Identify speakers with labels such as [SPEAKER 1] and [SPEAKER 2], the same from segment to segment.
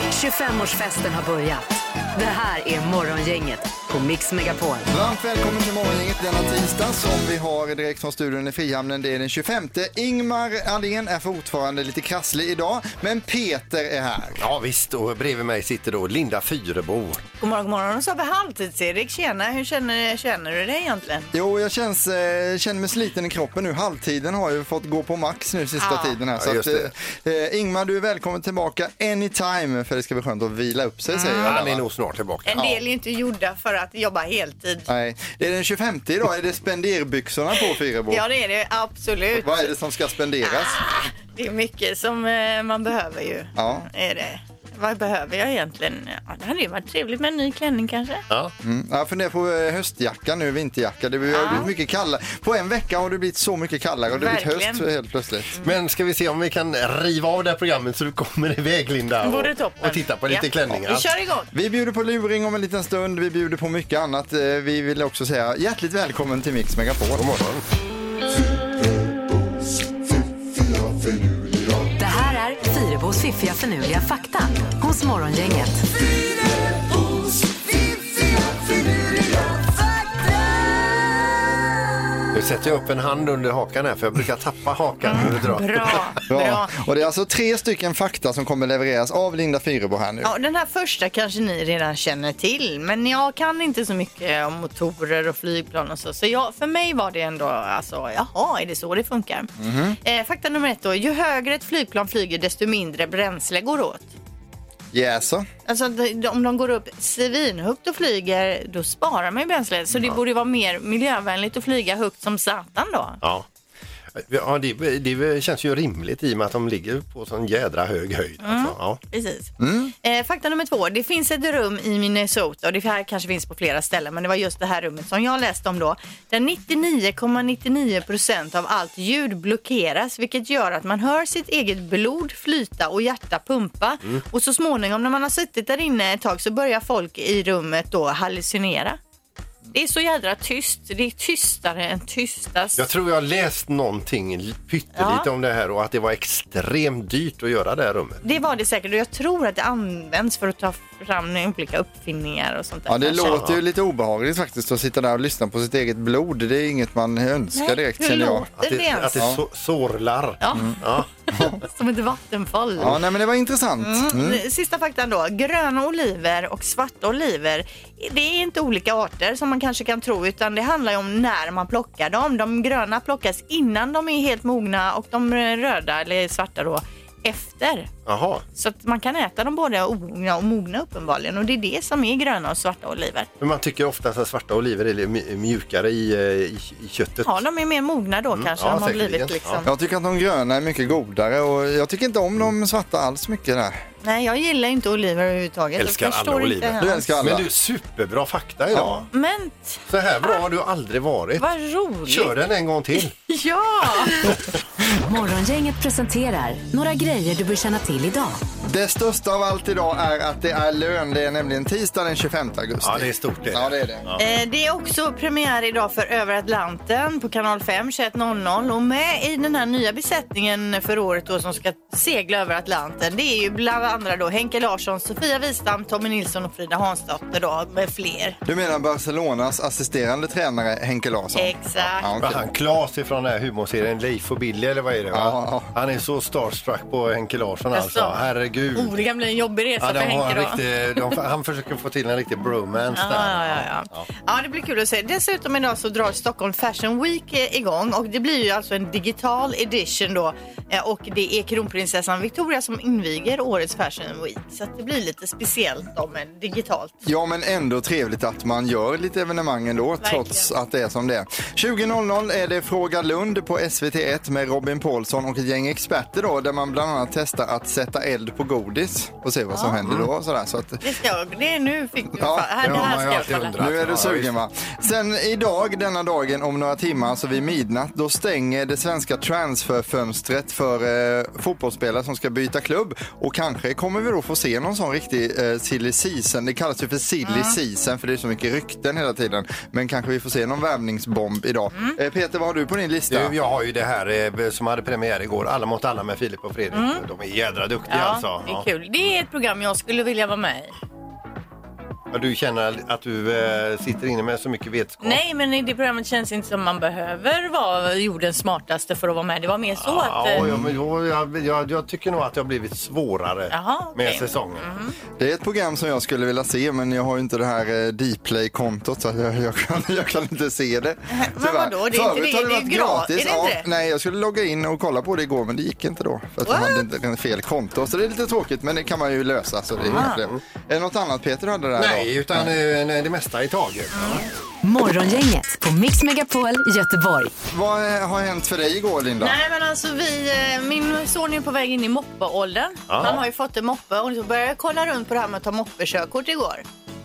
[SPEAKER 1] 25-årsfesten har börjat. Det här är Morgongänget på Mix Megapol.
[SPEAKER 2] Varmt välkommen till morgongänget denna tisdag som vi har direkt från studion i Frihamnen. Det är den 25. Ingmar Ahlén är fortfarande lite krasslig idag, men Peter är här.
[SPEAKER 3] Ja visst, och bredvid mig sitter då Linda Fyrebo.
[SPEAKER 4] God morgon, god morgon. Och så har vi halvtids-Erik. Tjena, hur känner, känner du dig egentligen?
[SPEAKER 2] Jo, jag känns, eh, känner mig sliten i kroppen nu. Halvtiden har ju fått gå på max nu sista
[SPEAKER 4] Ja.
[SPEAKER 2] tiden här.
[SPEAKER 3] Ja,
[SPEAKER 2] Så att,
[SPEAKER 3] just
[SPEAKER 2] eh, eh, Ingmar, du är välkommen tillbaka anytime för det ska bli skönt att vila upp sig säger jag.
[SPEAKER 3] Han
[SPEAKER 2] bara.
[SPEAKER 3] är nog snart tillbaka.
[SPEAKER 4] En del är ju inte gjorda för att jobba heltid.
[SPEAKER 2] Nej, det är den 25 idag. Är det spenderbyxorna på Fyrebo?
[SPEAKER 4] Ja, det är det absolut.
[SPEAKER 2] Vad är det som ska spenderas?
[SPEAKER 4] Ah, det är mycket som eh, man behöver ju.
[SPEAKER 2] Ja.
[SPEAKER 4] Är det. Vad behöver jag egentligen? Ja, det hade ju varit trevligt med en ny klänning kanske.
[SPEAKER 3] Ja.
[SPEAKER 2] Mm, jag funderar på eh, höstjacka nu, vinterjacka. Det har blivit mycket kallare. På en vecka har det blivit så mycket kallare och det har blivit
[SPEAKER 4] Verkligen.
[SPEAKER 2] höst helt plötsligt.
[SPEAKER 3] Men ska vi se om vi kan riva av det här programmet så du kommer iväg Linda
[SPEAKER 4] Det vore
[SPEAKER 3] och,
[SPEAKER 4] toppen.
[SPEAKER 3] och titta på lite
[SPEAKER 4] Ja.
[SPEAKER 3] klänningar.
[SPEAKER 4] Vi kör igång.
[SPEAKER 2] Vi bjuder på luring om en liten stund. Vi bjuder på mycket annat. Eh, Vi vill också säga hjärtligt välkommen till Mix Megapol.
[SPEAKER 3] God morgon.
[SPEAKER 1] Det här är Fyrabos fiffiga förnuliga fakta hos Morgongänget.
[SPEAKER 3] Nu sätter jag upp en hand under hakan här för jag brukar tappa hakan när du drar.
[SPEAKER 4] Bra,
[SPEAKER 2] Ja,
[SPEAKER 4] bra.
[SPEAKER 2] och det är alltså tre stycken fakta som kommer levereras av Linda Fyrebo här nu.
[SPEAKER 4] Ja, den här första kanske ni redan känner till, men jag kan inte så mycket om motorer och flygplan och så. Så jag, för mig var det ändå, alltså, jaha, är det så det funkar? Eh, fakta nummer ett då, ju högre ett flygplan flyger desto mindre bränsle går åt.
[SPEAKER 2] Jaså?
[SPEAKER 4] Alltså de- de- om de går upp svinhögt och flyger, då sparar man ju bränsle. Så det borde ju vara mer miljövänligt att flyga högt som satan då.
[SPEAKER 3] Ja. Ja, det, det känns ju rimligt i och med att de ligger på sån jädra hög höjd.
[SPEAKER 4] Mm.
[SPEAKER 3] Alltså, ja.
[SPEAKER 4] Precis.
[SPEAKER 2] Mm.
[SPEAKER 4] Eh, fakta nummer två. Det finns ett rum i Minnesota och det här kanske finns på flera ställen men det var just det här rummet som jag läste om då. Där 99,99 procent av allt ljud blockeras vilket gör att man hör sitt eget blod flyta och hjärta pumpa.
[SPEAKER 2] Mm.
[SPEAKER 4] Och så småningom när man har suttit där inne ett tag så börjar folk i rummet då hallucinera. Det är så jädra tyst. Det är tystare än tystast.
[SPEAKER 3] Jag tror jag har läst någonting l- pyttelite
[SPEAKER 4] Ja.
[SPEAKER 3] om det här och att det var extremt dyrt att göra det här rummet.
[SPEAKER 4] Det var det säkert och jag tror att det används för att ta fram olika uppfinningar och sånt där.
[SPEAKER 2] Ja, det
[SPEAKER 4] kanske.
[SPEAKER 2] låter ju lite obehagligt faktiskt att sitta där och lyssna på sitt eget blod. Det är inget man önskar
[SPEAKER 4] Nej,
[SPEAKER 2] direkt
[SPEAKER 4] hur
[SPEAKER 2] känner jag.
[SPEAKER 4] låter
[SPEAKER 3] Att det,
[SPEAKER 4] ens?
[SPEAKER 3] att det så, sorlar.
[SPEAKER 4] Ja,
[SPEAKER 3] Ja.
[SPEAKER 4] som ett vattenfall.
[SPEAKER 2] Ja, nej men det var intressant. Mm.
[SPEAKER 4] Mm. Sista faktan då. Gröna oliver och svarta oliver, det är inte olika arter som man kanske kan tro utan det handlar ju om när man plockar dem. De gröna plockas innan de är helt mogna och de röda eller svarta då efter.
[SPEAKER 3] Jaha.
[SPEAKER 4] Så att man kan äta dem både omogna och mogna uppenbarligen och det är det som är gröna och svarta oliver.
[SPEAKER 3] Men man tycker ofta att svarta oliver är li- mj- mjukare i, eh, i, i köttet.
[SPEAKER 4] Ja, de är mer mogna då kanske.
[SPEAKER 3] ja,
[SPEAKER 4] de har
[SPEAKER 3] säkerligen.
[SPEAKER 4] blivit liksom.
[SPEAKER 2] Jag tycker att de gröna är mycket godare och jag tycker inte om de svarta alls mycket där.
[SPEAKER 4] Nej, jag gillar inte oliver överhuvudtaget.
[SPEAKER 3] Älskar
[SPEAKER 4] Jag förstår
[SPEAKER 3] alla
[SPEAKER 4] inte
[SPEAKER 3] oliver.
[SPEAKER 4] henne.
[SPEAKER 2] Du älskar alla.
[SPEAKER 3] Men du, superbra fakta idag.
[SPEAKER 2] Ja.
[SPEAKER 4] Men
[SPEAKER 3] Så här bra har du aldrig varit.
[SPEAKER 4] vad roligt!
[SPEAKER 3] Kör den en gång till.
[SPEAKER 4] Ja!
[SPEAKER 1] Morgongänget presenterar några grejer du bör känna till idag.
[SPEAKER 2] Det största av allt idag är att det är lön. Det är nämligen tisdag den 25 augusti.
[SPEAKER 3] Ja, det är stort det.
[SPEAKER 2] Ja, det är det. Ja.
[SPEAKER 4] Eh, Det är också premiär idag för Över Atlanten på kanal 5 21.00 och med i den här nya besättningen för året då som ska segla över Atlanten det är ju bland andra då Henke Larsson, Sofia Wistam, Tommy Nilsson och Frida Hansdotter då med fler.
[SPEAKER 2] Du menar Barcelonas assisterande tränare Henke Larsson?
[SPEAKER 4] Exakt.
[SPEAKER 2] Ja,
[SPEAKER 3] Men
[SPEAKER 2] okej.
[SPEAKER 3] Han Klas ifrån den här humorserien Leif och Billy eller vad är det? Va?
[SPEAKER 2] Ja, ja.
[SPEAKER 3] Han är så starstruck på Henke Larsson alltså.
[SPEAKER 4] Jaså?
[SPEAKER 3] Herregud.
[SPEAKER 4] Oh, det kan bli en jobbig resa
[SPEAKER 3] Ja,
[SPEAKER 4] för
[SPEAKER 3] de har
[SPEAKER 4] Henke
[SPEAKER 3] en
[SPEAKER 4] då.
[SPEAKER 3] riktig, de, han försöker få till en riktig bromance där.
[SPEAKER 4] Ja, ja, ja. ja, det blir kul att se. Dessutom idag så drar Stockholm Fashion Week eh, igång och det blir ju alltså en digital edition då Eh, och det är kronprinsessan Victoria som inviger årets Fashion Week så att det blir lite speciellt då men digitalt.
[SPEAKER 2] Ja, men ändå trevligt att man gör lite evenemang ändå, trots att det är som det är. 20.00 är det Fråga Lund på SVT1 med Robin Paulsson och ett gäng experter då, där man bland annat testar att sätta eld på godis och se vad som händer då. och Sådär, så att,
[SPEAKER 4] Det ska jag, det är nu fick du
[SPEAKER 2] Ja,
[SPEAKER 4] fa- här,
[SPEAKER 3] det
[SPEAKER 4] det
[SPEAKER 3] har man ju
[SPEAKER 4] här ska
[SPEAKER 3] alltid
[SPEAKER 4] jag falla.
[SPEAKER 3] undrat.
[SPEAKER 2] Nu är du
[SPEAKER 3] Ja,
[SPEAKER 2] sugen va? Sen idag, denna dagen om några timmar, alltså vid midnatt, då stänger det svenska transferfönstret för eh, fotbollsspelare som ska byta klubb. Och kanske kommer vi då få se någon sån riktig eh, silly season. Det kallas ju för silly season för det är så mycket rykten hela tiden. Men kanske vi får se någon värvningsbomb idag. Eh, Peter, vad har du på din lista?
[SPEAKER 3] Du, jag har ju det här eh, som hade premiär igår, Alla mot alla med Filip och Fredrik. De är jädra duktiga alltså.
[SPEAKER 4] Mm. det är kul. Det är ett program jag skulle vilja vara med i.
[SPEAKER 3] Ja, Du känner att du eh, sitter inne med så mycket vetskap.
[SPEAKER 4] Nej, men i det programmet känns inte som man behöver vara jordens smartaste för att vara med. Det var mer så att... eh,
[SPEAKER 3] Ja, ja, men jag, jag, jag, jag tycker nog att det har blivit svårare
[SPEAKER 4] Jaha, okej. Mm.
[SPEAKER 3] med säsongen.
[SPEAKER 2] Det är ett program som jag skulle vilja se men jag har ju inte det här eh, Dplay-kontot så jag, jag, kan, jag kan inte se det.
[SPEAKER 4] Men vadå, det är inte
[SPEAKER 2] Förut
[SPEAKER 4] det,
[SPEAKER 2] har
[SPEAKER 4] det är
[SPEAKER 2] varit
[SPEAKER 4] ju gra-
[SPEAKER 2] gratis.
[SPEAKER 4] är det
[SPEAKER 2] ja,
[SPEAKER 4] inte det?
[SPEAKER 2] nej, jag skulle logga in och kolla på det igår men det gick inte då. För att jag
[SPEAKER 4] What?
[SPEAKER 2] hade inte- en fel konto så det är lite tråkigt men det kan man ju lösa så det är
[SPEAKER 4] Ah.
[SPEAKER 2] inga problem. Är det något annat Peter du hade där då?
[SPEAKER 3] Nej, utan eh, nej, Mm. det mesta i taget.
[SPEAKER 1] Morgongänget på Mix Megapol Göteborg.
[SPEAKER 2] Vad eh, har hänt för dig igår Linda?
[SPEAKER 4] Nej men alltså vi, eh, min son är på väg in i moppeåldern.
[SPEAKER 3] Ja.
[SPEAKER 4] Han har ju fått en moppe och så började jag kolla runt på det här med att ta moppekörkort igår.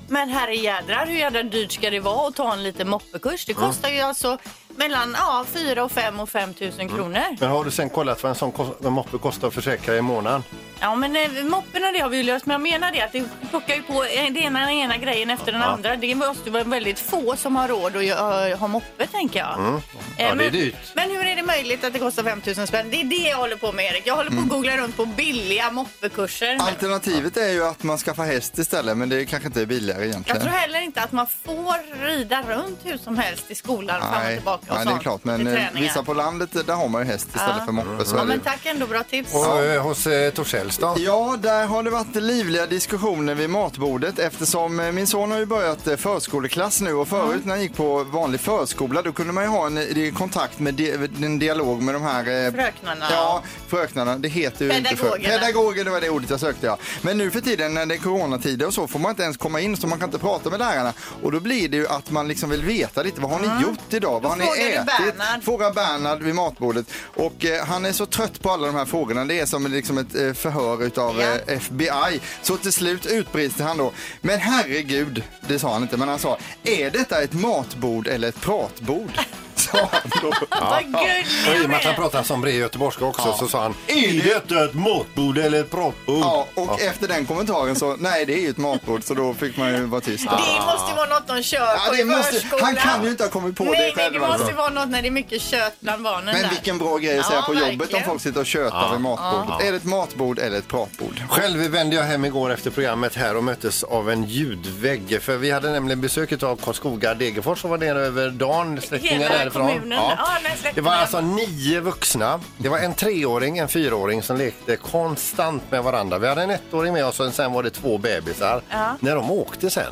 [SPEAKER 4] Men herre jädrar, hur jädra dyrt ska det vara att ta en liten moppekurs? Det kostar ju alltså mellan ja, 4 och 5 och 5 000 kronor.
[SPEAKER 3] Men har du sen kollat vad en sån kos- en moppe kostar att försäkra i månaden?
[SPEAKER 4] Ja men eh, moppen och det har vi ju löst. Men jag menar det att det plockar ju på eh, det ena, den ena grejen efter den
[SPEAKER 3] Ja.
[SPEAKER 4] andra. Det måste ju vara väldigt få som har råd att gö- ha moppe tänker jag.
[SPEAKER 2] Mm.
[SPEAKER 3] Ja,
[SPEAKER 4] Eh,
[SPEAKER 3] det är
[SPEAKER 4] men-
[SPEAKER 3] dyrt.
[SPEAKER 4] Men hur är det möjligt att det kostar 5 000 spänn? Det är det jag håller på med Erik. Jag håller
[SPEAKER 2] Mm.
[SPEAKER 4] på att googla runt på billiga moppekurser.
[SPEAKER 2] Alternativet är ju att man skaffar häst istället men det kanske inte är billigare egentligen.
[SPEAKER 4] Jag tror heller inte att man får rida runt hur som helst i skolan fram och
[SPEAKER 2] Nej,
[SPEAKER 4] tillbaka och
[SPEAKER 2] nej, det är
[SPEAKER 4] sånt
[SPEAKER 2] klart. Men
[SPEAKER 4] till
[SPEAKER 2] eh,
[SPEAKER 4] träningar.
[SPEAKER 2] vissa på landet, eh, där har man ju häst istället
[SPEAKER 4] Ja.
[SPEAKER 2] för moppe. Så
[SPEAKER 4] Ja
[SPEAKER 2] är det ju.
[SPEAKER 4] men tack ändå, bra tips.
[SPEAKER 3] Och eh, hos eh, Torsells då?
[SPEAKER 2] Ja, där har det varit livliga diskussioner vid matbordet eftersom eh, min son har ju börjat eh, förskoleklass nu och
[SPEAKER 4] Mm.
[SPEAKER 2] förut när han gick på vanlig förskola då kunde man ju ha en eh, kontakt med di- en dialog med de här eh,
[SPEAKER 4] Fröknarna.
[SPEAKER 2] Ja, fröknarna. Det heter ju inte frö-
[SPEAKER 4] Pedagogerna.
[SPEAKER 2] Pedagoger, det var det ordet jag sökte ja. Men nu för tiden när det är coronatider och så får man inte ens komma in så man kan inte prata med lärarna. Och då blir det ju att man liksom vill veta lite, vad har ni gjort idag? Vad har ni
[SPEAKER 4] Mm. frågar du
[SPEAKER 2] ätit?
[SPEAKER 4] Bernhard.
[SPEAKER 2] Fråga Bernhard vid matbordet. Och eh, han är så trött på alla de här frågorna. Det är som liksom ett eh, förhör utav
[SPEAKER 4] Ja.
[SPEAKER 2] eh, FBI. Så till slut utbrister han då. Men herregud, det sa han inte, men han sa, är detta ett matbord eller ett pratbord? Sa han då.
[SPEAKER 4] Vad
[SPEAKER 3] Och i och
[SPEAKER 4] gulliga
[SPEAKER 3] med att
[SPEAKER 4] de
[SPEAKER 3] han
[SPEAKER 4] är.
[SPEAKER 3] pratar som bred göteborgska också så sa han Är detta ett matbord eller ett pratbord?
[SPEAKER 2] Ja, och efter den kommentaren så, nej det är ju ett matbord så då fick man ju vara tyst.
[SPEAKER 4] Det måste ju vara något de kör
[SPEAKER 2] Ja,
[SPEAKER 4] på
[SPEAKER 2] det
[SPEAKER 4] i
[SPEAKER 2] måste,
[SPEAKER 4] förskolan.
[SPEAKER 2] han kan ju inte ha kommit på
[SPEAKER 4] Nej,
[SPEAKER 2] det
[SPEAKER 4] nej,
[SPEAKER 2] själv.
[SPEAKER 4] det måste
[SPEAKER 2] alltså.
[SPEAKER 4] vara något när det är mycket kött bland barnen
[SPEAKER 2] Men
[SPEAKER 4] där.
[SPEAKER 2] vilken bra grej att säga
[SPEAKER 4] Ja,
[SPEAKER 2] på jobbet om
[SPEAKER 4] verkligen.
[SPEAKER 2] folk sitter och tjötar vid matbordet. Är det ett matbord eller ett pratbord?
[SPEAKER 3] Själv vände jag hem igår efter programmet här och möttes av en ljudvägg. För vi hade nämligen besöket av Karlskoga Degerfors som var nere över dagen, släktingen
[SPEAKER 4] Hela
[SPEAKER 3] därifrån.
[SPEAKER 4] kommunen. Ja, nej, släktingen.
[SPEAKER 3] det var alltså nio vuxna. Det var en treåring, en fyraåring som lekte konstant med varandra. Vi hade en ettåring med oss och sen var det två bebisar.
[SPEAKER 4] Ja.
[SPEAKER 3] När de åkte sen,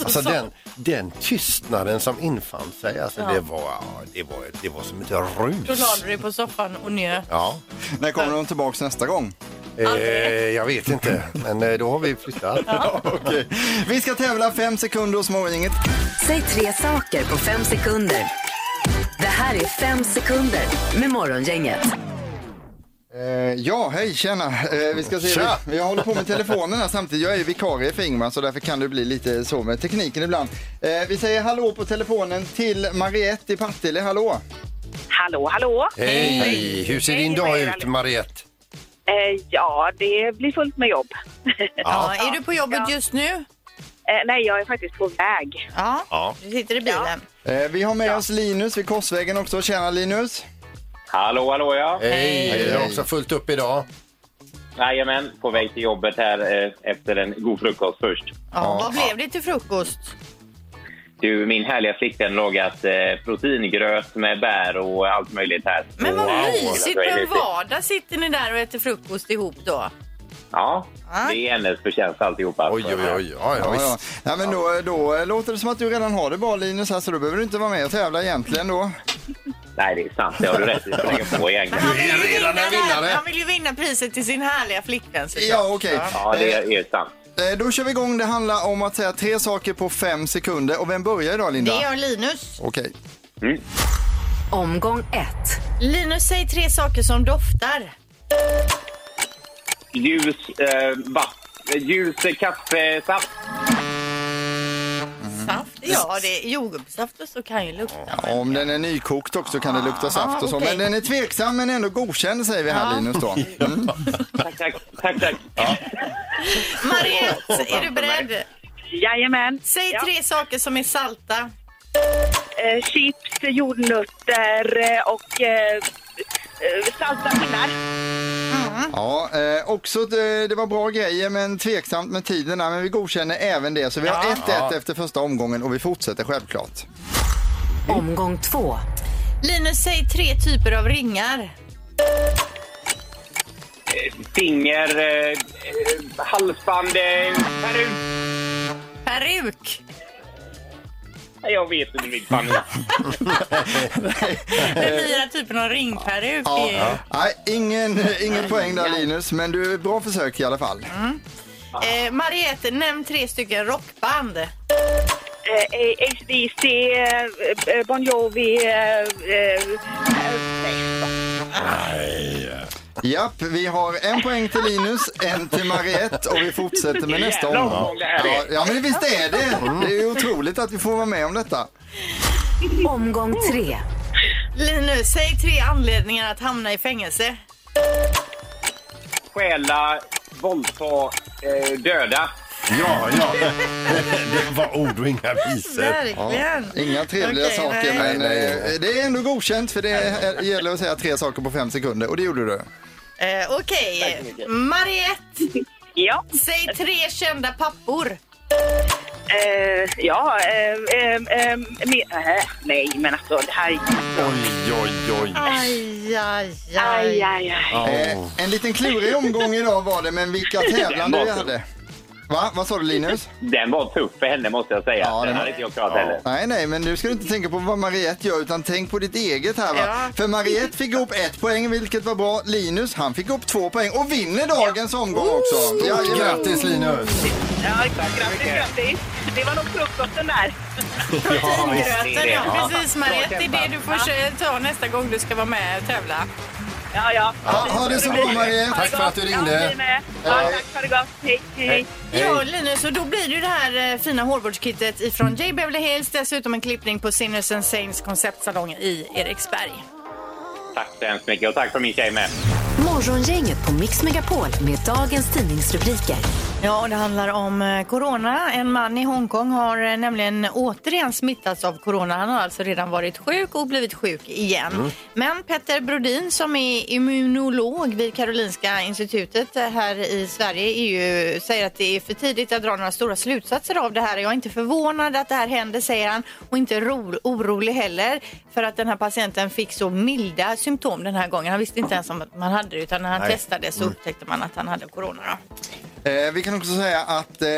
[SPEAKER 3] alltså
[SPEAKER 4] Så-
[SPEAKER 3] den, den tystnaden som infann sig, alltså det, var, ja, det, var, det var som ett
[SPEAKER 4] Då
[SPEAKER 3] rus.
[SPEAKER 4] la du dig på soffan och njöt.
[SPEAKER 3] Ja,
[SPEAKER 2] När kommer de tillbaks nästa gång?
[SPEAKER 3] eh, jag vet inte, men eh, då har vi flyttat.
[SPEAKER 2] Okej. Vi ska tävla fem sekunder hos Morgongänget.
[SPEAKER 1] Säg tre saker på fem sekunder. Det här är fem sekunder med Morgongänget.
[SPEAKER 2] Eh, ja, hej, tjena. Eh, vi ska se.
[SPEAKER 3] Tja.
[SPEAKER 2] Vi, jag håller på med telefonen här samtidigt. Jag är vikarie för Ingmar så därför kan det bli lite så med tekniken ibland. Eh, vi säger hallå på telefonen till Mariette i Partille. Hallå!
[SPEAKER 5] Hallå, hallå!
[SPEAKER 3] Hej! Hur ser din
[SPEAKER 5] Hej,
[SPEAKER 3] dag
[SPEAKER 5] vad är det,
[SPEAKER 3] ut,
[SPEAKER 5] Alex?
[SPEAKER 3] Mariette?
[SPEAKER 5] Eh, ja, det blir fullt med jobb.
[SPEAKER 4] Ja. Är du på jobbet just nu?
[SPEAKER 5] eh, nej, jag är faktiskt på väg.
[SPEAKER 4] Ja.
[SPEAKER 3] Ja.
[SPEAKER 4] Du sitter i bilen.
[SPEAKER 2] Eh, vi har med oss Linus vid Korsvägen också. Tjena Linus!
[SPEAKER 6] Hallå, hallå ja.
[SPEAKER 3] Hej! Jag har
[SPEAKER 2] Hej.
[SPEAKER 3] också fullt upp idag.
[SPEAKER 6] Jajamän, på väg till jobbet här eh, efter en god frukost först.
[SPEAKER 4] Ja. Vad blev det till frukost?
[SPEAKER 6] Du, min härliga flickvän lagat eh, proteingröt med bär och allt möjligt här.
[SPEAKER 4] Men vad
[SPEAKER 6] Wow.
[SPEAKER 4] mysigt på en vardag sitter ni där och äter frukost ihop då.
[SPEAKER 6] Ja,
[SPEAKER 4] Ja.
[SPEAKER 6] det är hennes förtjänst alltihopa.
[SPEAKER 3] Oj, oj, oj. Ja, ja,
[SPEAKER 2] Ja, ja.
[SPEAKER 3] visst.
[SPEAKER 2] Ja, men då, då eh, låter det som att du redan har det bra Linus, här, så då behöver du inte vara med och tävla egentligen då.
[SPEAKER 6] Nej, det är sant. Det har du rätt i. Jag får lägga på egentligen.
[SPEAKER 4] Han vill, ju vinna
[SPEAKER 3] redan en
[SPEAKER 4] det här-
[SPEAKER 3] vinnare.
[SPEAKER 4] han vill ju vinna priset till sin härliga flickvän. såklart.
[SPEAKER 2] Ja, okej.
[SPEAKER 6] Ja, det är sant.
[SPEAKER 2] Eh, Då kör vi igång. Det handlar om att säga tre saker på fem sekunder. Och vem börjar idag
[SPEAKER 4] Det
[SPEAKER 2] Linda?
[SPEAKER 4] gör Linus.
[SPEAKER 2] Okej.
[SPEAKER 6] Mm.
[SPEAKER 1] Omgång ett.
[SPEAKER 4] Linus, säg tre saker som doftar.
[SPEAKER 6] Ljus, eh, vatt- ljus, eh, kaffe, saft.
[SPEAKER 4] Saft? Ja, det är jordgubbssaft och så kan ju lukta.
[SPEAKER 2] Mm. Ja, Om den är nykokt också
[SPEAKER 6] Ah,
[SPEAKER 2] kan det lukta saft och så.
[SPEAKER 4] okej.
[SPEAKER 2] Men den är tveksam men ändå godkänd säger vi här Linus då. Mm.
[SPEAKER 6] Tack, tack. tack, tack.
[SPEAKER 4] Mariette, är du beredd?
[SPEAKER 5] Jajamän.
[SPEAKER 4] Säg
[SPEAKER 5] Ja.
[SPEAKER 4] tre saker som är salta.
[SPEAKER 5] Eh, chips, jordnötter eh, och eh, eh, salta pinnar.
[SPEAKER 2] Ja, eh, också det, det var bra grejer men tveksamt med tiden. Nej, men vi godkänner även det. Så vi har 1-1 efter första omgången och vi fortsätter självklart.
[SPEAKER 1] Omgång två.
[SPEAKER 4] Linus, säg tre typer av ringar.
[SPEAKER 6] Finger, eh, eh, halsband, eh, peruk.
[SPEAKER 4] Peruk.
[SPEAKER 6] Nej, Jag vet inte min fan.
[SPEAKER 4] Den nya typen av ringperuk. är-
[SPEAKER 2] Eh. Nej, ingen, eh, ingen poäng där Linus, men du bra försök i alla fall.
[SPEAKER 4] Eh, Mariette, nämn tre stycken rockband.
[SPEAKER 5] Eh, eh, HDC, eh, eh, Bon Jovi. Eh, eh, eh,
[SPEAKER 2] Japp, vi har en poäng till Linus, en till Mariette och vi fortsätter med nästa
[SPEAKER 6] Jävla
[SPEAKER 2] omgång.
[SPEAKER 6] omgång det här är.
[SPEAKER 2] Ja, ja, men visst är det. Det är ju otroligt att vi får vara med om detta.
[SPEAKER 1] Omgång tre.
[SPEAKER 4] Linus, säg tre anledningar att hamna i fängelse.
[SPEAKER 6] Stjäla, våldta, eh, döda.
[SPEAKER 3] Ja, ja. Det var ord och inga visor.
[SPEAKER 4] Verkligen.
[SPEAKER 2] Inga trevliga
[SPEAKER 4] Okej,
[SPEAKER 2] saker,
[SPEAKER 4] nej.
[SPEAKER 2] men
[SPEAKER 3] Nej,
[SPEAKER 2] eh, det är ändå godkänt för det är- gäller att säga tre saker på fem sekunder och det gjorde du.
[SPEAKER 4] Eh, Okej. Mariette,
[SPEAKER 5] ja.
[SPEAKER 4] säg tre kända pappor.
[SPEAKER 5] Eh, ja, eh, eh, eh, me- eh, nej men alltså det här...
[SPEAKER 3] Oj, oj, oj.
[SPEAKER 4] Aj, aj, aj.
[SPEAKER 5] Aj, aj, aj.
[SPEAKER 3] Ja.
[SPEAKER 2] Eh, en liten klurig omgång idag var det, men vilka tävlande vi hade. Va? Vad sa du Linus?
[SPEAKER 6] Den var tuff för henne måste jag säga.
[SPEAKER 2] Ja, den
[SPEAKER 6] den
[SPEAKER 2] var-
[SPEAKER 6] hade inte jag klarat heller.
[SPEAKER 2] Nej, nej, men nu ska du inte tänka på vad Mariette gör utan tänk på ditt eget här va.
[SPEAKER 4] Ja.
[SPEAKER 2] För Mariette fick ihop ett poäng vilket var bra. Linus han fick ihop två poäng och vinner dagens omgång också.
[SPEAKER 3] Stort
[SPEAKER 2] Jajamän.
[SPEAKER 3] grattis Linus!
[SPEAKER 5] Ja, grattis, grattis. Det var nog frukosten där.
[SPEAKER 4] Gröten,
[SPEAKER 6] det.
[SPEAKER 4] ja. Precis, Mariette.
[SPEAKER 6] Bra
[SPEAKER 4] Det är det
[SPEAKER 6] kämpat.
[SPEAKER 4] du får kö- ta nästa gång du ska vara med och tävla.
[SPEAKER 5] Ja, ja.
[SPEAKER 2] Ja, ha det så bra Mariette.
[SPEAKER 3] Tack för att du ringde.
[SPEAKER 5] Ja, ni med. Ja, tack för det gott. Hej, hej. hej.
[SPEAKER 4] Ja, Linus, och då blir det ju det här eh, fina hårvårdskittet ifrån J. Beverly Hills. Dessutom en klippning på Sinners and Saints konceptsalong i Eriksberg.
[SPEAKER 6] Tack så hemskt mycket och tack för min tjej med.
[SPEAKER 1] Morgongänget på Mix Megapol med dagens tidningsrubriker.
[SPEAKER 4] Ja, och det handlar om eh, corona. En man i Hongkong har eh, nämligen återigen smittats av corona. Han har alltså redan varit sjuk och blivit sjuk igen. Men Petter Brodin som är immunolog vid Karolinska institutet eh, här i Sverige är ju, säger att det är för tidigt att dra några stora slutsatser av det här. Jag är inte förvånad att det här händer, säger han, och inte ro- orolig heller för att den här patienten fick så milda symptom den här gången. Han visste inte ens om att man hade det utan när han testade så upptäckte man att han hade corona. Då.
[SPEAKER 2] Eh, vi kan också säga att eh,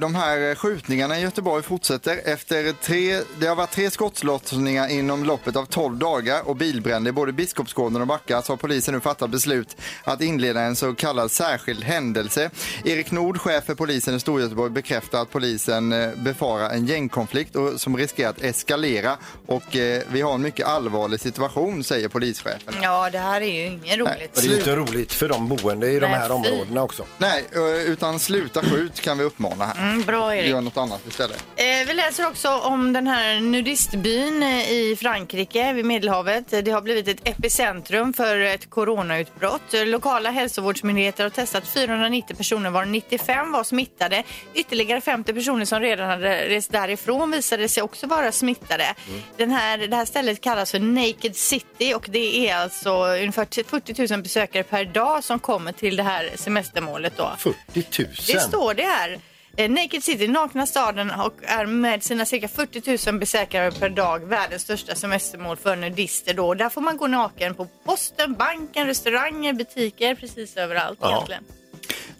[SPEAKER 2] de här skjutningarna i Göteborg fortsätter. Efter tre, det har varit tre skottlossningar inom loppet av 12 dagar och bilbränder i både Biskopsgården och Backa så har polisen nu fattat beslut att inleda en så kallad särskild händelse. Erik Nord, chef för polisen i Storgöteborg, bekräftar att polisen eh, befarar en gängkonflikt och, som riskerar att eskalera och eh, vi har en mycket allvarlig situation, säger polischefen.
[SPEAKER 4] Ja, det här är ju inget roligt.
[SPEAKER 3] Och det är ju inte roligt för de boende i de
[SPEAKER 4] Nej,
[SPEAKER 3] här
[SPEAKER 4] fy.
[SPEAKER 3] områdena också.
[SPEAKER 2] Nej, eh, utan sluta skjut kan vi uppmana här.
[SPEAKER 4] Mm, bra Erik.
[SPEAKER 2] Gör något annat istället.
[SPEAKER 4] Eh, vi läser också om den här nudistbyn eh, i Frankrike vid Medelhavet. Eh, Det har blivit ett epicentrum för ett coronautbrott. Eh, Lokala hälsovårdsmyndigheter har testat 490 personer var 95 var smittade. Ytterligare 50 personer som redan hade rest därifrån visade sig också vara smittade.
[SPEAKER 3] Mm.
[SPEAKER 4] Den här, det här stället kallas för Naked City och det är alltså ungefär 40 000 besökare per dag som kommer till det här semestermålet. Då.
[SPEAKER 3] 40 000.
[SPEAKER 4] Det står det här. Eh, Naked City, nakna staden och är med sina cirka 40 000 besökare per dag världens största semestermål för nudister. Då. Där får man gå naken på posten, banken, restauranger, butiker, precis överallt
[SPEAKER 3] Ja.
[SPEAKER 4] egentligen.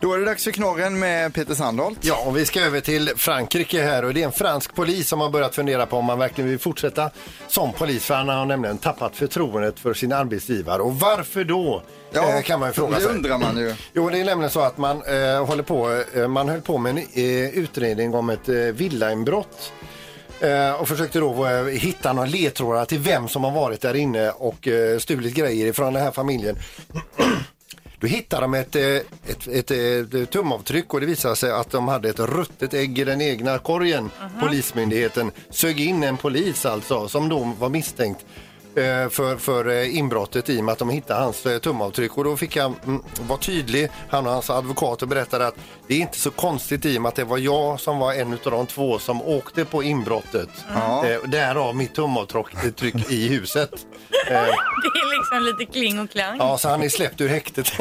[SPEAKER 2] Då är det dags för knorren med Peter Sandholt.
[SPEAKER 3] Ja, och vi ska över till Frankrike här och det är en fransk polis som har börjat fundera på om man verkligen vill fortsätta som polis för han har nämligen tappat förtroendet för sin arbetsgivare. Och varför då? eh, kan man ju fråga
[SPEAKER 2] det
[SPEAKER 3] sig.
[SPEAKER 2] undrar man ju.
[SPEAKER 3] Jo, det är nämligen så att man, eh, håller på, eh, man höll på med en eh, utredning om ett eh, villainbrott eh, och försökte då eh, hitta några ledtrådar till vem som har varit där inne och eh, stulit grejer ifrån den här familjen. Då hittade de ett, eh, ett, ett, eh, tumavtryck och det visade sig att de hade ett ruttet ägg i den egna korgen. Polismyndigheten sög in en polis alltså som då var misstänkt eh, för, för eh, inbrottet i och med att de hittade hans eh, tumavtryck. Och då fick han mm, vara tydlig. Han och hans advokater berättade att det är inte så konstigt i och med att det var jag som var en av de två som åkte på inbrottet.
[SPEAKER 2] Ja.
[SPEAKER 3] Eh, och därav mitt tumavtryck tryck i huset.
[SPEAKER 4] Det
[SPEAKER 3] Eh,
[SPEAKER 4] är liksom lite kling och klang.
[SPEAKER 3] ja, så han är släppt ur häktet.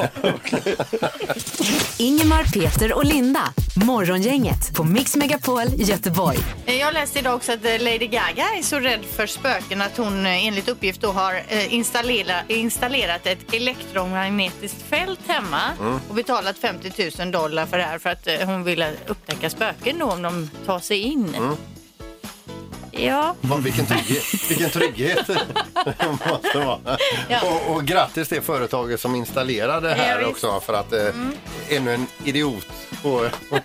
[SPEAKER 1] Ingemar, Peter och Linda. Morgongänget på Mix Megapol Göteborg.
[SPEAKER 4] Eh, Jag läste idag också att eh, Lady Gaga är så rädd för spöken att hon eh, enligt uppgift då har eh, installera, installerat ett elektromagnetiskt fält hemma
[SPEAKER 2] Mm.
[SPEAKER 4] och betalat 50 000 dollar för det här för att eh, hon ville upptäcka spöken då om de tar sig in.
[SPEAKER 2] Mm.
[SPEAKER 4] Ja,
[SPEAKER 3] Vad- Vilken trygghet! Vilken trygghet det måste vara.
[SPEAKER 4] Ja.
[SPEAKER 3] Och, och grattis till företaget som installerade det här
[SPEAKER 4] Ja, visst. Mm.
[SPEAKER 3] också för att eh, ännu en idiot på, på,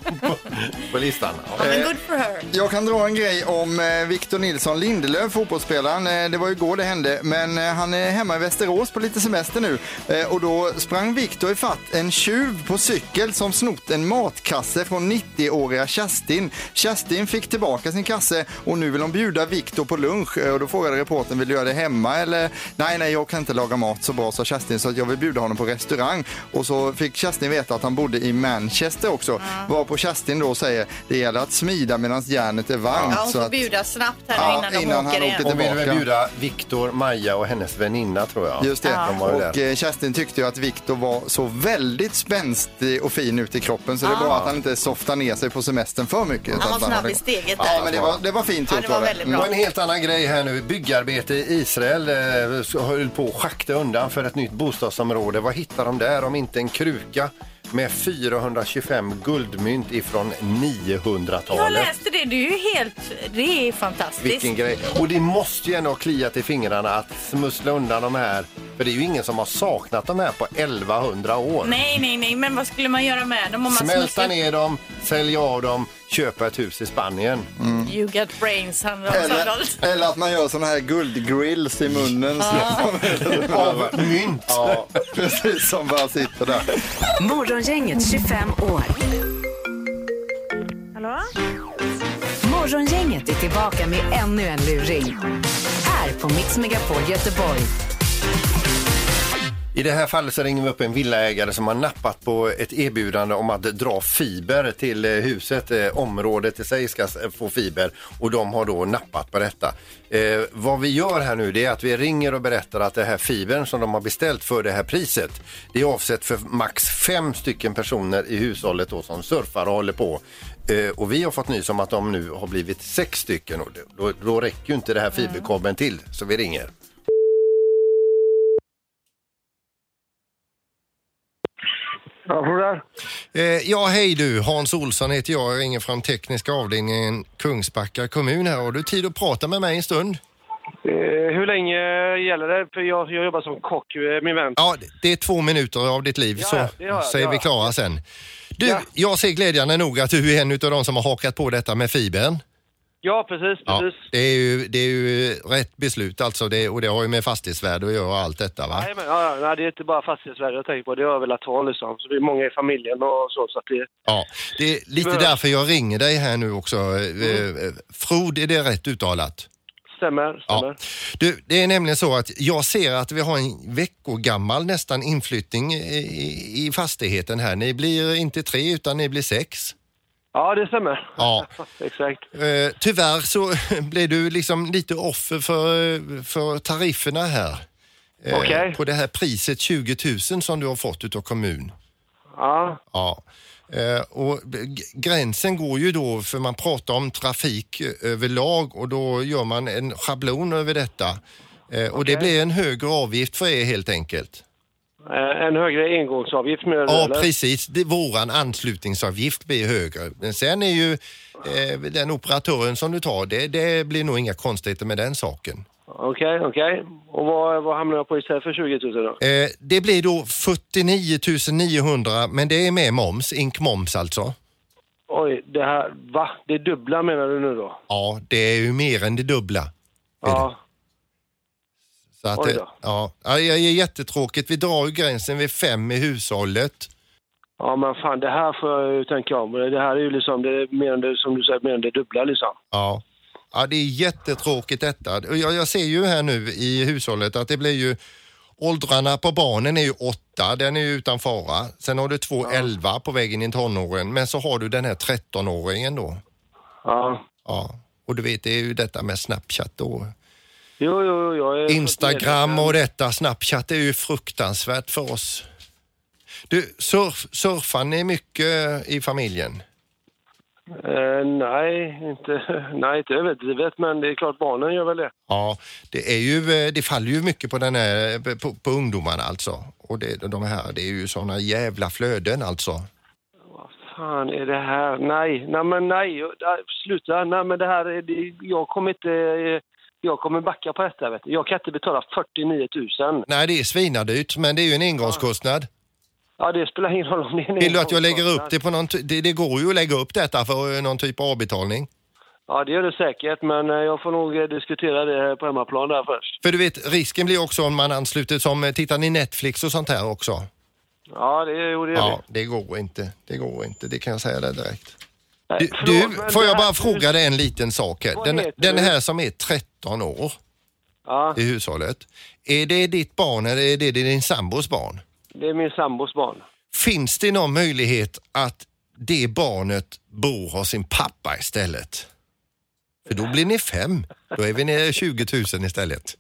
[SPEAKER 3] på listan.
[SPEAKER 4] ja
[SPEAKER 3] Eh,
[SPEAKER 4] men good for her.
[SPEAKER 2] Jag kan dra en grej om eh, Victor Nilsson Lindelöf, fotbollsspelaren. Eh, Det var ju igår det hände, men eh, han är hemma i Västerås på lite semester nu. Eh, Och då sprang Victor ifatt en tjuv på cykel som snott en matkasse från 90-åriga Kerstin. Kerstin fick tillbaka sin kasse och nu vill de bjuda Victor på lunch. Eh, Och då frågade reportern, vill du göra det hemma eller? Nej, nej, jag kan inte laga mat så bra, sa Kerstin, så att jag vill bjuda honom på restaurang. Och så fick Kerstin veta att han bodde i Manchester också. Varpå Kerstin då säger, det gäller att smida medan järnet är varmt.
[SPEAKER 4] Ja, hon
[SPEAKER 2] så
[SPEAKER 4] får
[SPEAKER 2] alltså att,
[SPEAKER 4] bjuda snabbt här
[SPEAKER 2] Ja,
[SPEAKER 4] innan de
[SPEAKER 2] innan
[SPEAKER 4] åker
[SPEAKER 2] han
[SPEAKER 4] igen.
[SPEAKER 2] åker
[SPEAKER 3] Hon ville väl
[SPEAKER 2] tillbaka.
[SPEAKER 3] bjuda Viktor, Maja och hennes väninna tror jag.
[SPEAKER 2] Just det.
[SPEAKER 4] Ja.
[SPEAKER 3] De var ju
[SPEAKER 2] Och
[SPEAKER 3] där.
[SPEAKER 2] eh, Kerstin tyckte ju att Viktor var så väldigt spänstig och fin ut i kroppen så det är bra att han inte softar ner sig på semestern för mycket.
[SPEAKER 4] Han var
[SPEAKER 2] Utan
[SPEAKER 4] snabb i steget
[SPEAKER 2] Ja,
[SPEAKER 4] där.
[SPEAKER 2] men det var, det var fint
[SPEAKER 4] Ja,
[SPEAKER 2] gjort
[SPEAKER 4] det var
[SPEAKER 2] av er.
[SPEAKER 4] väldigt
[SPEAKER 2] Mm.
[SPEAKER 4] bra.
[SPEAKER 3] Och en helt annan grej här nu. Byggarbete i Israel eh, så höll på att schakta undan för ett nytt bostadsområde. Vad hittar de där om inte en kruka med 425 guldmynt ifrån
[SPEAKER 4] Jag
[SPEAKER 3] 900-talet?
[SPEAKER 4] läste det, det är ju helt, det är fantastiskt.
[SPEAKER 3] Vilken grej. Och det måste ju ändå ha kliat i fingrarna att smussla undan de här. För det är ju ingen som har saknat de här på 1100 år.
[SPEAKER 4] Nej, nej, nej, men vad skulle man göra med dem om man
[SPEAKER 3] Smälta
[SPEAKER 4] smusslar-
[SPEAKER 3] ner dem, sälja av dem, köpa ett hus i Spanien.
[SPEAKER 4] You got brains, handlar om
[SPEAKER 2] Eller,
[SPEAKER 4] Sandholt.
[SPEAKER 2] eller att man gör såna här guldgrills i munnen. så-
[SPEAKER 3] Av mynt!
[SPEAKER 2] Ja, precis som bara sitter där.
[SPEAKER 1] Morgongänget 25 år.
[SPEAKER 5] Hallå?
[SPEAKER 1] Morgongänget är tillbaka med ännu en luring. Här på Mix Megapol Göteborg.
[SPEAKER 3] I det här fallet så ringer vi upp en villaägare som har nappat på ett erbjudande om att dra fiber till eh, huset. Eh, Området i sig ska s- få fiber och de har då nappat på detta. Eh, vad vi gör här nu det är att vi ringer och berättar att det här fibern som de har beställt för det här priset det är avsett för max fem stycken personer i hushållet då som surfar och håller på. Eh, och vi har fått nys om att de nu har blivit sex stycken och det- då, då räcker ju inte det här fiberkabeln till så vi ringer. Eh, Ja, hej du. Hans Olsson heter jag. Jag ringer från tekniska avdelningen Kungsbacka kommun här. Har du tid att prata med mig en stund?
[SPEAKER 7] Eh, hur länge gäller det? För jag, jag jobbar som kock, eh, min vän.
[SPEAKER 3] Ja, det är två minuter av ditt liv
[SPEAKER 7] Ja,
[SPEAKER 3] så
[SPEAKER 7] ja, det gör jag,
[SPEAKER 3] så är
[SPEAKER 7] det
[SPEAKER 3] vi
[SPEAKER 7] gör
[SPEAKER 3] klara sen. Du,
[SPEAKER 7] Ja.
[SPEAKER 3] jag ser glädjande nog att du är en av de som har hakat på detta med fibern.
[SPEAKER 7] Ja, precis,
[SPEAKER 3] Ja,
[SPEAKER 7] precis.
[SPEAKER 3] det, är ju, det är ju rätt beslut alltså det, och det har ju med fastighetsvärde att göra och allt detta va?
[SPEAKER 7] Jajamän, ja, ja, nej, det är inte bara fastighetsvärde jag tänker på. Det har jag velat ha liksom. Så vi är många i familjen och så. så att det,
[SPEAKER 3] Ja, det är lite
[SPEAKER 7] Men-
[SPEAKER 3] därför jag ringer dig här nu också.
[SPEAKER 7] Mm.
[SPEAKER 3] Eh, eh, Frod, är det rätt uttalat?
[SPEAKER 7] stämmer, stämmer.
[SPEAKER 3] Ja. Du, det är nämligen så att jag ser att vi har en veckogammal nästan inflyttning i, i fastigheten här. Ni blir inte tre utan ni blir sex.
[SPEAKER 7] Ja, det stämmer.
[SPEAKER 3] Ja.
[SPEAKER 7] Exakt.
[SPEAKER 3] Eh, tyvärr så blir du liksom lite offer för, för tarifferna här. Eh,
[SPEAKER 7] Okej.
[SPEAKER 3] På det här priset 20 000 som du har fått utav kommun.
[SPEAKER 7] Ja,
[SPEAKER 3] Ja. Eh, och g- gränsen går ju då, för man pratar om trafik eh, överlag och då gör man en schablon över detta. Eh, och det blir en högre avgift för er helt enkelt.
[SPEAKER 7] eh, en högre engångsavgift med
[SPEAKER 3] Ja,
[SPEAKER 7] eller?
[SPEAKER 3] precis. Det, våran anslutningsavgift blir högre. Men sen är ju eh, den operatören som du tar, det, det blir nog inga konstigheter med den saken.
[SPEAKER 7] Okej, okej. Och vad, vad hamnar jag på istället för 20 000 då?
[SPEAKER 3] Eh, det blir då 49 900, men det är med moms, inkmoms alltså.
[SPEAKER 7] Oj, det här, va? Det dubbla menar du nu då?
[SPEAKER 3] Ja, det är ju mer än det dubbla.
[SPEAKER 7] Ja,
[SPEAKER 3] Så att
[SPEAKER 7] Oj
[SPEAKER 3] det,
[SPEAKER 7] då.
[SPEAKER 3] ja, ja, det är jättetråkigt. Vi drar ju gränsen vid fem i hushållet.
[SPEAKER 7] ja men fan det här får jag ju tänka om. Det här är ju liksom, det är mer än det, som du säger, mer än det dubbla liksom.
[SPEAKER 3] Ja.
[SPEAKER 8] Ja, det är jättetråkigt detta. Jag, jag ser ju här nu i hushållet att det blir ju Åldrarna på barnen är ju åtta, den är ju utan fara. Sen har du två elva på väg in i tonåren, men så har du den här 13-åringen då.
[SPEAKER 7] Ja.
[SPEAKER 8] Ja, och du vet det är ju detta med Snapchat då.
[SPEAKER 7] Jo, jo, jo, jag är
[SPEAKER 8] Instagram och detta Snapchat är ju fruktansvärt för oss. Du, surf, surfar ni mycket i familjen?
[SPEAKER 7] Eh, nej, inte, nej, inte överdrivet, men det är klart barnen gör väl det.
[SPEAKER 8] Ja, det, är ju, eh, det faller ju mycket på, den här, eh, på, på ungdomarna alltså. Och det, de här, det är ju såna jävla flöden alltså.
[SPEAKER 7] Vad fan är det här? Nej, nej men nej, nej, sluta. Nej men det här, är- det- jag kommer inte, eh, jag kommer backa på detta vet du. Jag kan inte betala 49 000.
[SPEAKER 8] Nej, det är svinardyrt, men det är ju en engångskostnad.
[SPEAKER 7] Ja, det spelar ingen roll om det är en
[SPEAKER 8] Vill du att jag lägger
[SPEAKER 7] engångskostnad.
[SPEAKER 8] upp det på någon... ty- Det, det går ju att lägga upp detta för eh, någon typ av avbetalning.
[SPEAKER 7] Ja, det gör det säkert, men eh, jag får nog eh, diskutera det här på hemmaplan där först.
[SPEAKER 8] För du vet, risken blir också om man ansluter som... eh, Tittar ni Netflix och sånt här också?
[SPEAKER 7] Ja, det, jo, det gör
[SPEAKER 8] Ja,
[SPEAKER 7] vi.
[SPEAKER 8] det går inte. Det går inte, det kan jag säga dig direkt.
[SPEAKER 7] Nej,
[SPEAKER 8] Du,
[SPEAKER 7] förlåt,
[SPEAKER 8] du
[SPEAKER 7] men
[SPEAKER 8] får
[SPEAKER 7] det
[SPEAKER 8] jag
[SPEAKER 7] här-
[SPEAKER 8] bara fråga dig en liten sak här.
[SPEAKER 7] Vad
[SPEAKER 8] Den,
[SPEAKER 7] heter
[SPEAKER 8] den
[SPEAKER 7] du?
[SPEAKER 8] här som är 13 år
[SPEAKER 7] Ja,
[SPEAKER 8] i hushållet. Är det ditt barn eller är det din sambos barn?
[SPEAKER 7] det är min sambos barn.
[SPEAKER 8] Finns det någon möjlighet att det barnet bor hos sin pappa istället? För då blir ni fem. Då är vi nere i 20 000 istället.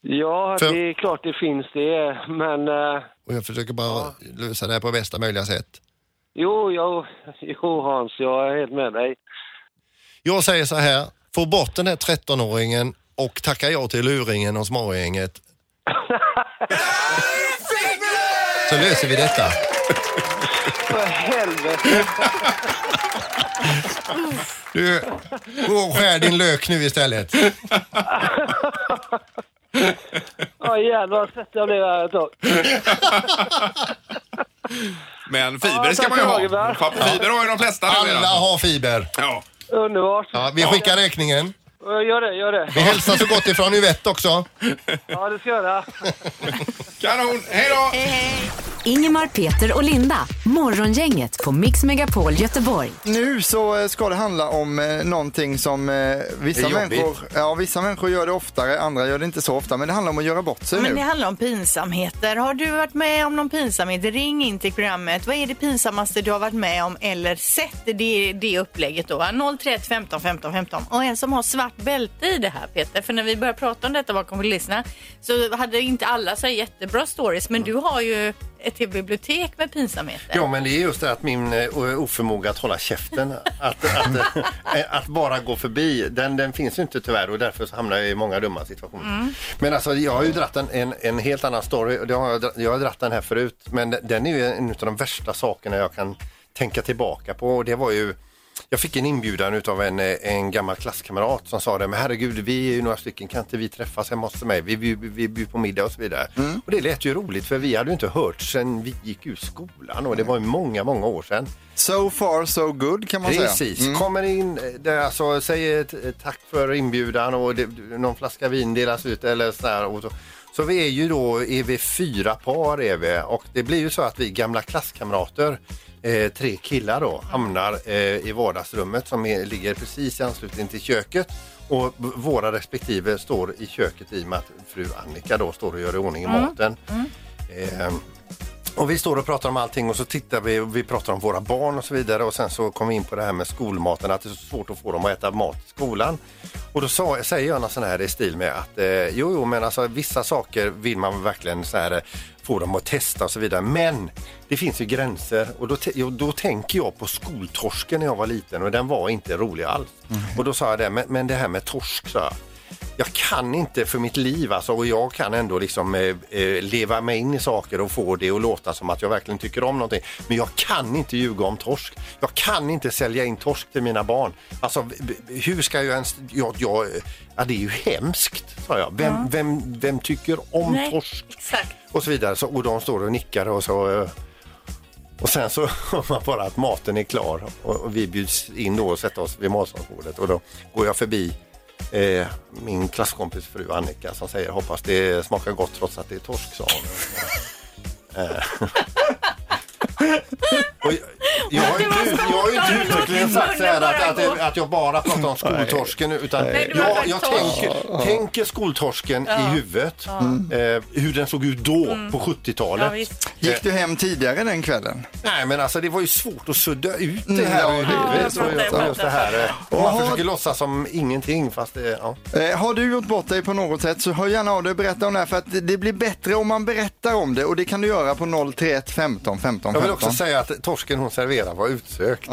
[SPEAKER 7] Ja,
[SPEAKER 8] För-
[SPEAKER 7] det är klart det finns det, men... eh,
[SPEAKER 8] Och jag försöker bara lösa det här på bästa möjliga sätt.
[SPEAKER 7] Jo, jo, jo, Hans, jag är helt med dig.
[SPEAKER 8] Jag säger så här, få bort den här 13-åringen och tacka ja till luringen och smågänget. Så löser vi detta.
[SPEAKER 7] För helvete!
[SPEAKER 8] Du, gå och skär din lök nu istället.
[SPEAKER 7] Ja, jävlar vad svettig jag blev här ett tag.
[SPEAKER 9] Men
[SPEAKER 7] Ja,
[SPEAKER 9] fiber ska
[SPEAKER 7] tack
[SPEAKER 9] man ju
[SPEAKER 7] för frågan.
[SPEAKER 9] ha. Pappa fiber har ju de flesta
[SPEAKER 8] Alla
[SPEAKER 9] numera.
[SPEAKER 8] har fiber.
[SPEAKER 9] Ja.
[SPEAKER 7] Underbart.
[SPEAKER 8] Ja, vi skickar räkningen.
[SPEAKER 7] Ja, Gör det, gör det.
[SPEAKER 8] Vi hälsar så gott ifrån Yvette också.
[SPEAKER 7] Ja, det ska jag göra.
[SPEAKER 9] Kanon, hej då!
[SPEAKER 1] Ingemar, Peter och Linda. Morgongänget på Mix Megapol Göteborg.
[SPEAKER 2] Nu så eh, ska det handla om eh, någonting som eh, vissa,
[SPEAKER 3] Är jobbigt.
[SPEAKER 2] människor, ja, vissa människor gör det oftare, andra gör det inte så ofta. Men det handlar om att göra bort sig
[SPEAKER 4] Men
[SPEAKER 2] nu.
[SPEAKER 4] det handlar om pinsamheter. Har du varit med om någon pinsamhet? Ring in till programmet. Vad är det pinsammaste du har varit med om eller sett? Det är det upplägget då. va? 031 15 15 15. Och en som har svart bälte i det här Peter. För när vi började prata om detta bakom kulisserna så hade inte alla så här jättebra stories. Men du har ju ett helt bibliotek med pinsamheter.
[SPEAKER 3] Mm. Ja, men det är just det att min eh, oförmåga att hålla käften, att, att, eh, att bara gå förbi, den, den finns ju inte tyvärr och därför så hamnar jag i många dumma situationer. Men alltså, jag har ju dratt en, en, en helt annan story och det har jag, dra- jag har dratt den här förut, men den- den är ju en av de värsta sakerna jag kan tänka tillbaka på och det var ju jag fick en inbjudan utav en, eh, en gammal klasskamrat som sa det, men herregud vi är ju några stycken, kan inte vi träffas hemma hos mig? Vi, vi, vi, vi bjuder på middag och så vidare. Och det lät ju roligt för vi hade ju inte hört sen vi gick ur skolan och det var ju många, många år sedan.
[SPEAKER 2] So far so good kan man säga. Mm.
[SPEAKER 3] Precis, kommer in, eh, där, alltså, säger t- tack för inbjudan och det, någon flaska vin delas ut eller sådär. Och så. så vi är ju då, är vi fyra par är vi och det blir ju så att vi gamla klasskamrater, eh, tre killar då, hamnar eh, i vardagsrummet som är, ligger precis i anslutning till köket. Och v- våra respektive står i köket i och med att fru Annika då står och gör i ordning i
[SPEAKER 2] Mm.
[SPEAKER 3] maten. Ehm, och vi står och pratar om allting och så tittar vi och vi pratar om våra barn och så vidare och sen så kom vi in på det här med skolmaten, att det är så svårt att få dem att äta mat i skolan. Och då sa, säger jag något sån här i stil med att eh, jo, jo, men alltså vissa saker vill man verkligen så här eh, få dem att testa och så vidare. Men det finns ju gränser och då, te- jo, då tänker jag på skoltorsken när jag var liten och den var inte rolig alls. Och då sa jag det, men, men det här med torsk, sa jag jag kan inte för mitt liv alltså, och jag kan ändå liksom eh, eh, leva mig in i saker och få det att låta som att jag verkligen tycker om någonting. Men jag kan inte ljuga om torsk. Jag kan inte sälja in torsk till mina barn. Alltså, b- b- hur ska jag ens... Jag, jag, ja, det är ju hemskt, sa jag. Vem, vem, vem tycker om
[SPEAKER 4] Nej,
[SPEAKER 3] torsk?
[SPEAKER 4] Exakt.
[SPEAKER 3] och så vidare. Så, och de står och nickar och så... eh, Och sen så hör man bara att maten är klar och, och vi bjuds in då och sätter oss vid matsalsbordet och då går jag förbi eh, min klasskompis fru Annika som säger hoppas det smakar gott trots att det är torsk sa hon. Eh. och jag, Jag har
[SPEAKER 4] Det var
[SPEAKER 3] inte, jag har ju
[SPEAKER 4] spontant.
[SPEAKER 3] inte uttryckligen sagt så här
[SPEAKER 4] Munnen
[SPEAKER 3] att,
[SPEAKER 4] bara
[SPEAKER 3] att,
[SPEAKER 4] går.
[SPEAKER 3] att jag bara pratar om skoltorsken utan
[SPEAKER 4] Nej, du har
[SPEAKER 3] jag,
[SPEAKER 4] sagt
[SPEAKER 3] jag
[SPEAKER 4] torsk.
[SPEAKER 3] tänker, tänker skoltorsken
[SPEAKER 4] Ja. Mm.
[SPEAKER 3] i huvudet. Eh, hur den såg ut då på
[SPEAKER 4] Ja,
[SPEAKER 3] 70-talet.
[SPEAKER 4] visst.
[SPEAKER 2] Gick du hem tidigare den kvällen?
[SPEAKER 3] Nej men alltså det var ju svårt att sudda ut det
[SPEAKER 2] Mm, ja,
[SPEAKER 3] här. ur
[SPEAKER 2] det-
[SPEAKER 3] huvudet.
[SPEAKER 2] det-
[SPEAKER 3] Så
[SPEAKER 4] det-
[SPEAKER 3] just- just det här. eh, Och
[SPEAKER 2] Jaha.
[SPEAKER 3] man försöker låtsas som ingenting fast det, ja.
[SPEAKER 2] Eh, har du gjort bort dig på något sätt så hör gärna av dig och berätta om det här för att det- det blir bättre om man berättar om det och det kan du göra på 031 15 15
[SPEAKER 3] Jag vill också
[SPEAKER 2] 15.
[SPEAKER 3] säga att torsken hon serverade var utsökt.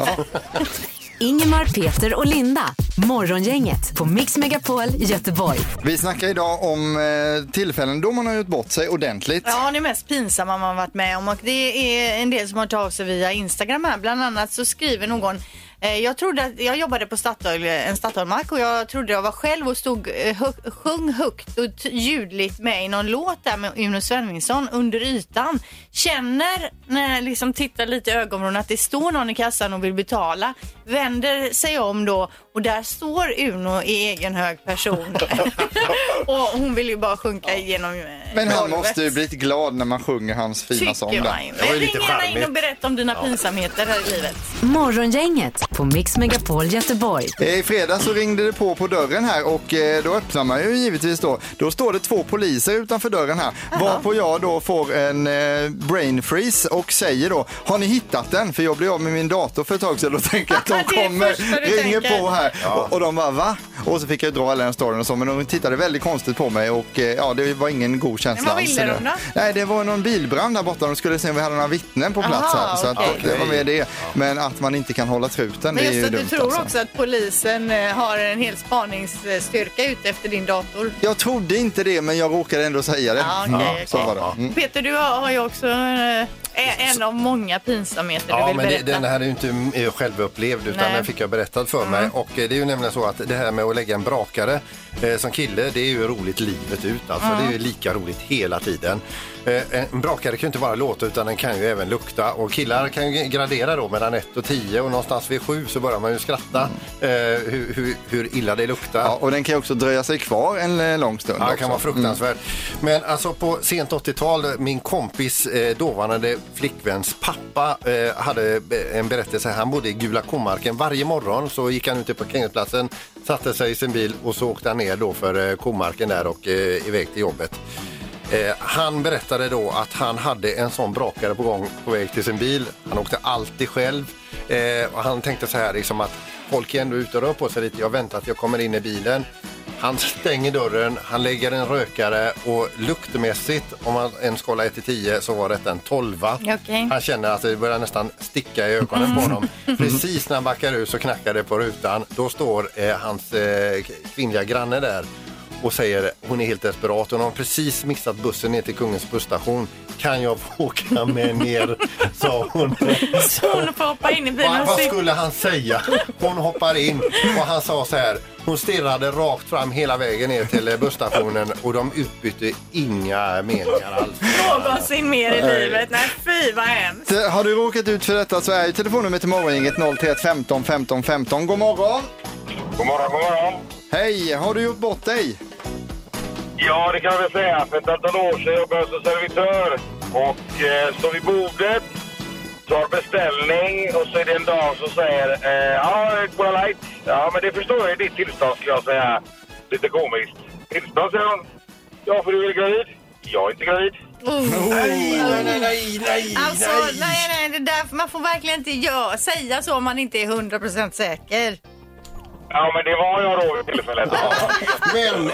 [SPEAKER 1] Ingemar, Peter och Linda. Morgongänget på Mix Megapol Göteborg.
[SPEAKER 2] Vi snackar idag om eh, tillfällen då man har gjort bort sig ordentligt.
[SPEAKER 4] Ja, det mest pinsamma man varit med om och det är en del som har tagit av sig via Instagram här. Bland annat så skriver någon eh, jag trodde att jag jobbade på Statoil, en Statoilmack och jag trodde jag var själv och stod eh, hö- sjöng högt och t- ljudligt med i någon låt där med Uno Svenningsson under ytan. Känner när jag liksom tittar lite i ögonvrån att det står någon i kassan och vill betala. Vänder sig om då och där står Uno i egen hög person. och hon vill ju bara sjunka igenom eh,
[SPEAKER 2] Men han
[SPEAKER 4] golvet.
[SPEAKER 2] måste ju blivit glad när man sjunger hans fina sång
[SPEAKER 4] Tycker man
[SPEAKER 2] där.
[SPEAKER 4] ju.
[SPEAKER 3] var
[SPEAKER 4] Men
[SPEAKER 3] ju
[SPEAKER 4] ring
[SPEAKER 3] lite
[SPEAKER 4] gärna in och
[SPEAKER 3] charmigt.
[SPEAKER 4] berätta om dina pinsamheter här i livet.
[SPEAKER 1] Morgongänget på Mix Megapol Göteborg.
[SPEAKER 2] Eh, I fredags så ringde det på på dörren här och eh, då öppnar man ju givetvis då. Då står det två poliser utanför dörren här. Varpå jag då får en eh, brain freeze och säger då har ni hittat den? För jag blev av med min dator för ett tag sedan och tänker att
[SPEAKER 4] Det
[SPEAKER 2] de
[SPEAKER 4] är det
[SPEAKER 2] kommer,
[SPEAKER 4] första du
[SPEAKER 2] ringer
[SPEAKER 4] tänker.
[SPEAKER 2] på här. Och, och de bara va? Och så fick jag dra alla den storyn och så men de tittade väldigt konstigt på mig och eh, ja det var ingen god känsla
[SPEAKER 4] vad ville
[SPEAKER 2] alls.
[SPEAKER 4] de då?
[SPEAKER 2] Nej det var någon bilbrand där borta. De skulle se om vi hade några vittnen på plats
[SPEAKER 4] Aha,
[SPEAKER 2] här. Så att,
[SPEAKER 4] okej.
[SPEAKER 2] det var med det. Men att man inte kan hålla
[SPEAKER 4] Men
[SPEAKER 2] truten det är ju
[SPEAKER 4] just att du
[SPEAKER 2] dumt
[SPEAKER 4] tror
[SPEAKER 2] alltså.
[SPEAKER 4] också att polisen eh, har en hel spaningsstyrka ute efter din dator.
[SPEAKER 2] Jag trodde inte det, men jag råkade ändå säga det.
[SPEAKER 4] Ja, Ah, okej, okej.
[SPEAKER 2] Så var det. Mm.
[SPEAKER 4] Peter, du har har ju också eh, en av många pinsamheter du
[SPEAKER 3] Ja,
[SPEAKER 4] vill
[SPEAKER 3] men det,
[SPEAKER 4] berätta.
[SPEAKER 3] den här är ju inte eh, självupplevd utan
[SPEAKER 4] Nej.
[SPEAKER 3] den fick jag berättad för mig. Och eh, det är ju nämligen så att det här med att lägga en brakare eh, som kille, det är ju roligt livet ut. Alltså det är ju lika roligt hela tiden. Eh, en brakare kan ju inte bara låta utan den kan ju även lukta. Och killar kan ju gradera då mellan 1 och 10 och någonstans vid 7 så börjar man ju skratta eh, hur, hur, hur illa det luktar.
[SPEAKER 2] Ja, och den kan ju också dröja sig kvar en eh, lång stund.
[SPEAKER 3] Ja, det
[SPEAKER 2] också.
[SPEAKER 3] kan
[SPEAKER 2] Mm.
[SPEAKER 3] vara fruktansvärt. Men alltså på sent 80-tal, min kompis eh, dåvarande flickväns pappa eh, hade en berättelse. Han bodde i Gula Komarken. Varje morgon så gick han ut till parkeringsplatsen, satte sig i sin bil och så åkte han ner då för eh, Komarken där och eh, iväg till jobbet. Eh, han berättade då att han hade en sån brakare på gång på väg till sin bil. Han åkte alltid själv. Eh, och han tänkte så här liksom att folk är ändå ute och rör på sig lite. Jag väntar att jag kommer in i bilen. Han stänger dörren, han lägger en rökare och luktmässigt, om man en skala 1 till 10 så var detta en 12.
[SPEAKER 4] Okej.
[SPEAKER 3] Han känner att det börjar nästan sticka i ögonen på honom. Precis när han backar ut så knackar det på rutan. Då står eh, hans eh, kvinnliga granne där och säger hon är helt desperat. Hon har precis missat bussen ner till Kungens busstation. Kan jag få åka med ner? sa hon.
[SPEAKER 4] Så hon får hoppa in i bilen
[SPEAKER 3] Vad,
[SPEAKER 4] och
[SPEAKER 3] vad
[SPEAKER 4] se.
[SPEAKER 3] skulle han säga? Hon hoppar in och han sa så här. Hon stirrade rakt fram hela vägen ner till eh, busstationen och de utbytte inga meningar alls.
[SPEAKER 4] Någonsin mer i livet. Nej, fy vad hemskt.
[SPEAKER 2] Så Har du råkat ut för detta så är ju telefonnumret till morgongänget 031 15 15 15. God morgon!
[SPEAKER 7] God morgon, god morgon.
[SPEAKER 2] Hej! Har du gjort bort dig?
[SPEAKER 7] Ja, det kan jag väl säga. För ett antal år sedan jobbade jag som servitör och eh, står vid bordet, tar beställning och så är det en dam som säger eh, ja, Cola Light. Ja, men det förstår jag i ditt tillstånd skulle jag säga. Lite komiskt. Tillstånd, säger hon. Ja, för du är gravid. Jag är inte gravid.
[SPEAKER 4] Alltså, nej, nej, det där, man får verkligen inte göra, säga så om man inte är 100% säker.
[SPEAKER 7] Ja, men det var jag då vid tillfället.
[SPEAKER 3] Men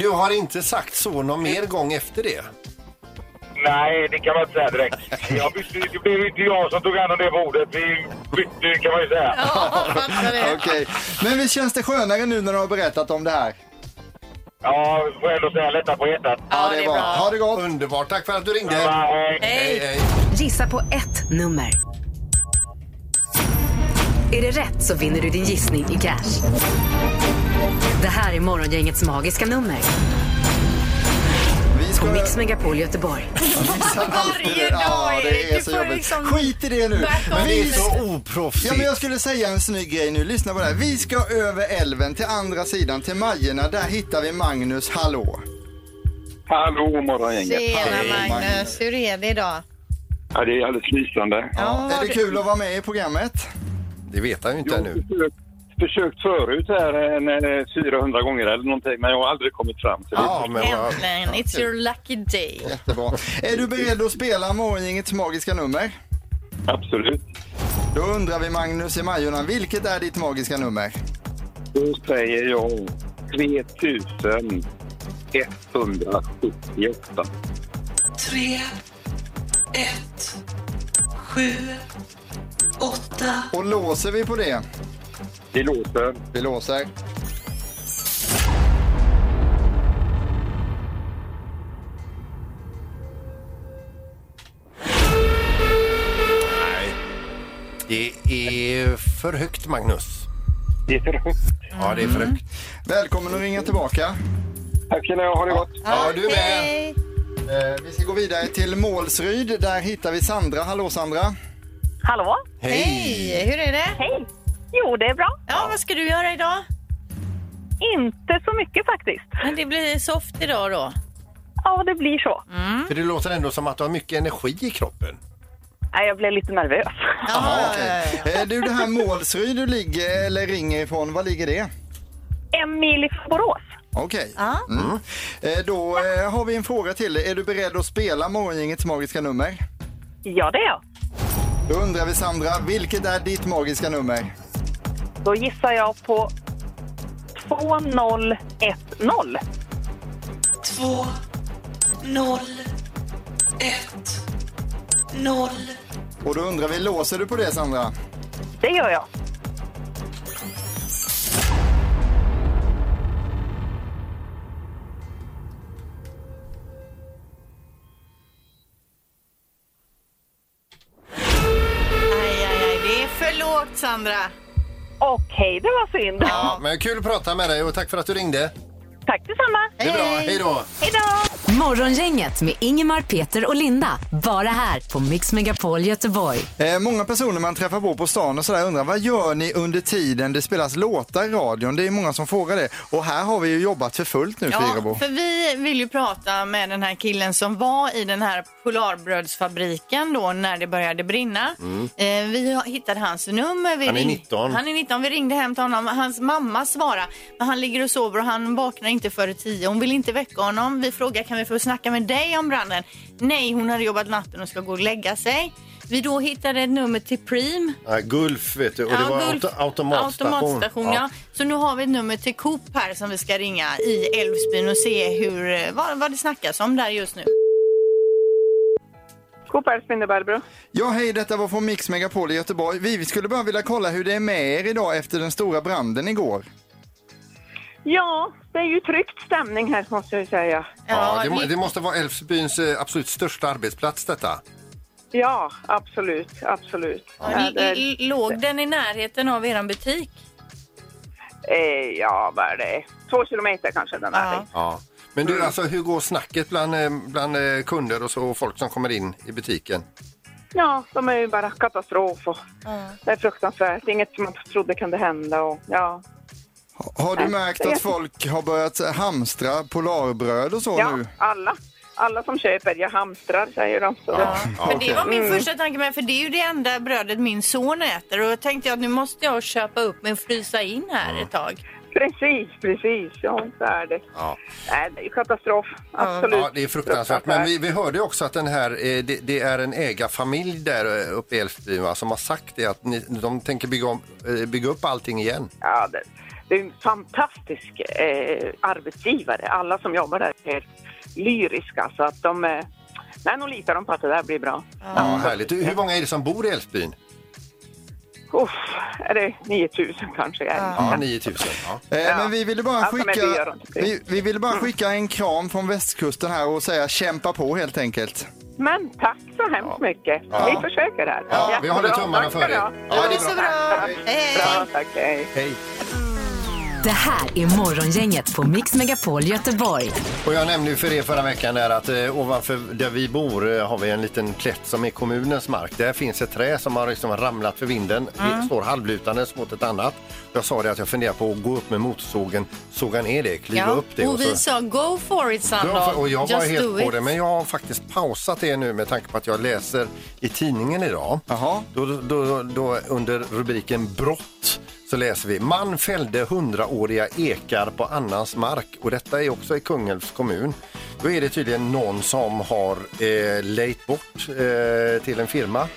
[SPEAKER 3] du har inte sagt så någon mer gång efter det?
[SPEAKER 7] Nej, det kan man inte säga direkt. Jag bytte, det blev ju inte jag som tog hand om det bordet. Vi bytte, kan man ju säga.
[SPEAKER 4] Ja, fattar det.
[SPEAKER 2] Okej. Men visst känns det skönare nu när du har berättat om det här?
[SPEAKER 7] Ja, får jag ändå säga lätta på hjärtat.
[SPEAKER 4] Ja, det är
[SPEAKER 2] bra.
[SPEAKER 4] bra.
[SPEAKER 2] Ha det gott!
[SPEAKER 3] Underbart, tack för att du ringde.
[SPEAKER 7] Bye.
[SPEAKER 4] Hej.
[SPEAKER 3] hej.
[SPEAKER 1] Gissa på ett nummer. Är det rätt så vinner du din gissning i cash. Det här är morgongängets magiska nummer
[SPEAKER 2] Vi ska...
[SPEAKER 1] på Mix Megapol Göteborg.
[SPEAKER 4] Varje dag,
[SPEAKER 2] Ja,
[SPEAKER 4] Erik,
[SPEAKER 2] det är
[SPEAKER 4] du
[SPEAKER 2] så
[SPEAKER 4] får
[SPEAKER 2] jobbigt.
[SPEAKER 4] liksom-
[SPEAKER 2] Skit i det nu!
[SPEAKER 4] Back off.
[SPEAKER 2] Men
[SPEAKER 3] Det är
[SPEAKER 2] vi
[SPEAKER 3] så oproffsigt.
[SPEAKER 2] Ja, men jag skulle säga en snygg grej nu. Lyssna på det här. Vi ska över älven till andra sidan, till Majerna. Där hittar vi Magnus. Hallå!
[SPEAKER 4] Tjena Magnus, hur är det idag?
[SPEAKER 7] Ja, det är alldeles lysande.
[SPEAKER 2] Är det kul att vara med i programmet?
[SPEAKER 3] Det vet han ju inte
[SPEAKER 7] Jag har
[SPEAKER 3] ännu.
[SPEAKER 7] försökt, försökt förut här en, eh, 400 gånger eller någonting, men jag har aldrig kommit fram till det.
[SPEAKER 3] Ja, men vad-
[SPEAKER 4] Äntligen, it's your lucky day.
[SPEAKER 2] Jättebra. Är du beredd att spela Morgongängets magiska nummer?
[SPEAKER 7] Absolut.
[SPEAKER 2] Då undrar vi Magnus i Majorna, vilket är ditt magiska nummer?
[SPEAKER 7] Då säger jag 3178.
[SPEAKER 2] Och låser vi på det?
[SPEAKER 7] Det låter.
[SPEAKER 2] Vi låser.
[SPEAKER 3] Det är för högt, Magnus.
[SPEAKER 7] Det är för högt.
[SPEAKER 3] Ja, det är för
[SPEAKER 4] Mm.
[SPEAKER 3] högt.
[SPEAKER 2] Välkommen att ringa tillbaka.
[SPEAKER 7] Tack ska ni ha. Ha det gott.
[SPEAKER 3] Ja, du är med.
[SPEAKER 4] Hej!
[SPEAKER 2] Eh, vi ska gå vidare till Målsryd. Där hittar vi Sandra. Hallå Sandra!
[SPEAKER 5] Hallå?
[SPEAKER 4] Hej! Hur är det?
[SPEAKER 5] Hej! Jo, det är bra.
[SPEAKER 4] Ja, vad ska du göra idag?
[SPEAKER 5] Inte så mycket faktiskt.
[SPEAKER 4] Men det blir soft idag då.
[SPEAKER 5] Ja, det blir så.
[SPEAKER 3] För det låter ändå som att du har mycket energi i kroppen.
[SPEAKER 5] Nej, jag blev lite nervös.
[SPEAKER 4] Ja,
[SPEAKER 2] Okej. Eh, du, det här Målsryd du ligger eller ringer ifrån, var ligger det?
[SPEAKER 5] En mil ifrån Borås.
[SPEAKER 2] Okej.
[SPEAKER 4] Ja.
[SPEAKER 2] Mm. Eh, då eh, har vi en fråga till dig. Är du beredd att spela Morgongängets magiska nummer?
[SPEAKER 5] Ja, det är jag.
[SPEAKER 2] Då undrar vi Sandra, vilket är ditt magiska nummer?
[SPEAKER 5] Då gissar jag på 2010.
[SPEAKER 2] Och då undrar vi, låser du på det Sandra?
[SPEAKER 5] Det gör jag.
[SPEAKER 4] Aj, aj, aj. Det är för lågt, Sandra.
[SPEAKER 5] Okej, det var synd.
[SPEAKER 3] Ja, men kul att prata med dig och tack för att du ringde.
[SPEAKER 5] Tack detsamma.
[SPEAKER 3] Det är bra.
[SPEAKER 4] Hej.
[SPEAKER 3] Hej då.
[SPEAKER 5] Hej då!
[SPEAKER 1] Morgongänget med Ingemar, Peter och Linda. Bara här på Mix Megapol Göteborg.
[SPEAKER 2] Eh, många personer man träffar på på stan och sådär undrar, vad gör ni under tiden det spelas låtar i radion? Det är många som frågar det. Och här har vi ju jobbat för fullt nu Fyrebo.
[SPEAKER 4] Ja, för vi vill ju prata med den här killen som var i den här Polarbrödsfabriken då när det började brinna. Eh, vi har- hittade hans nummer. Vi
[SPEAKER 3] Mm. Han är
[SPEAKER 4] ring-
[SPEAKER 3] 19.
[SPEAKER 4] Han är 19. Vi ringde hem till honom. Hans mamma svarade. Men han ligger och sover och han vaknar inte före tio. Hon vill inte väcka honom. Vi frågar kan vi få snacka med dig om branden? Nej, hon hade jobbat natten och ska gå och lägga sig. Vi då hittade ett nummer till Preem
[SPEAKER 3] Ja, Gulf, vet du. Och det var
[SPEAKER 4] Gulf-
[SPEAKER 3] auto- automatstation.
[SPEAKER 4] automatstation, ja. Så nu har vi ett nummer till Coop här som vi ska ringa i Älvsbyn och se hur, eh, vad, vad det snackas om där just nu.
[SPEAKER 5] Coop Älvsbyn, Barbro.
[SPEAKER 2] Ja, hej, detta var från Mix Megapol i Göteborg. Vi skulle bara vilja kolla hur det är med er idag efter den stora branden igår.
[SPEAKER 5] Ja, det är ju tryckt stämning här måste jag ju säga.
[SPEAKER 3] Ja, det, må-
[SPEAKER 4] vi-
[SPEAKER 3] det måste vara Älvsbyns eh, absolut största arbetsplats detta.
[SPEAKER 5] Ja, absolut, absolut. Ja, det,
[SPEAKER 4] L- l- Låg den i närheten av er butik?
[SPEAKER 5] eh, ja vad är det? Två kilometer kanske den är.
[SPEAKER 4] Ja.
[SPEAKER 3] Ja. Men du, alltså, hur går snacket bland, eh, bland eh, kunder och så, och folk som kommer in i butiken?
[SPEAKER 5] Ja, de är ju bara katastrof och det är fruktansvärt. Inget som man trodde kunde hända och ja.
[SPEAKER 2] Ha- Har du märkt att folk har börjat hamstra Polarbröd och så
[SPEAKER 5] Ja,
[SPEAKER 2] nu? Eh,
[SPEAKER 5] alla. Alla som köper, jag hamstrar säger de. Så
[SPEAKER 4] Ja.
[SPEAKER 5] det-
[SPEAKER 4] Men det var
[SPEAKER 3] Mm.
[SPEAKER 4] min första tanke med, för det är ju det enda brödet min son äter och då tänkte jag att nu måste jag köpa upp men frysa in här ett tag.
[SPEAKER 5] Precis, precis. Ja, så är det.
[SPEAKER 3] Ja.
[SPEAKER 5] Nej, det är ju katastrof. Absolut.
[SPEAKER 3] Ja, det är fruktansvärt. Men vi, vi hörde ju också att den här, eh, det, det är en ägarfamilj där eh, uppe i Älvsbyn va, som har sagt det att ni, de tänker bygga, om, eh, bygga upp allting igen.
[SPEAKER 5] Ja, det, det är en fantastisk eh, arbetsgivare. Alla som jobbar där är lyriska. Så att de, eh, nej, nu litar de på att det där blir bra.
[SPEAKER 3] Ja, härligt. Du, Hur många är det som bor i Älvsbyn?
[SPEAKER 5] Uff, är det 9000 kanske? Ja.
[SPEAKER 3] Ja, 9000. Ja.
[SPEAKER 2] Eh, Men vi ville, bara
[SPEAKER 5] Ja, som en
[SPEAKER 2] skicka,
[SPEAKER 5] byar.
[SPEAKER 2] vi, vi ville bara skicka en kram från västkusten här och säga kämpa på helt enkelt.
[SPEAKER 5] Men tack så hemskt mycket. Vi försöker här.
[SPEAKER 3] Ja, vi håller
[SPEAKER 5] Jättebra.
[SPEAKER 3] tummarna
[SPEAKER 5] Tack
[SPEAKER 3] för
[SPEAKER 5] ska
[SPEAKER 3] er.
[SPEAKER 5] du ha.
[SPEAKER 3] Ja,
[SPEAKER 4] det är så bra.
[SPEAKER 5] Tack, tack.
[SPEAKER 4] Hej.
[SPEAKER 5] Bra, tack. Hej.
[SPEAKER 3] Hej.
[SPEAKER 1] Det här är Morgongänget på Mix Megapol Göteborg.
[SPEAKER 3] Och jag nämnde ju för er förra veckan där att eh, ovanför där vi bor eh, har vi en liten plätt som är kommunens mark. Där finns ett trä som har liksom ramlat för vinden.
[SPEAKER 4] Mm.
[SPEAKER 3] Det står halvlutandes mot ett annat. Jag sa det att jag funderar på att gå upp med motorsågen, såga ner det, klyva upp det.
[SPEAKER 4] Och vi
[SPEAKER 3] så-
[SPEAKER 4] sa go for it
[SPEAKER 3] Ja,
[SPEAKER 4] Sandra.
[SPEAKER 3] för- och jag var
[SPEAKER 4] Just do
[SPEAKER 3] helt på
[SPEAKER 4] it.
[SPEAKER 3] det, men jag har faktiskt pausat det nu med tanke på att jag läser i tidningen idag.
[SPEAKER 2] Jaha.
[SPEAKER 3] Då, då, då, då under rubriken brott så läser vi man fällde hundraåriga ekar på annans mark och detta är också i Kungälvs kommun. Då är det tydligen någon som har eh, lejt bort eh, till en firma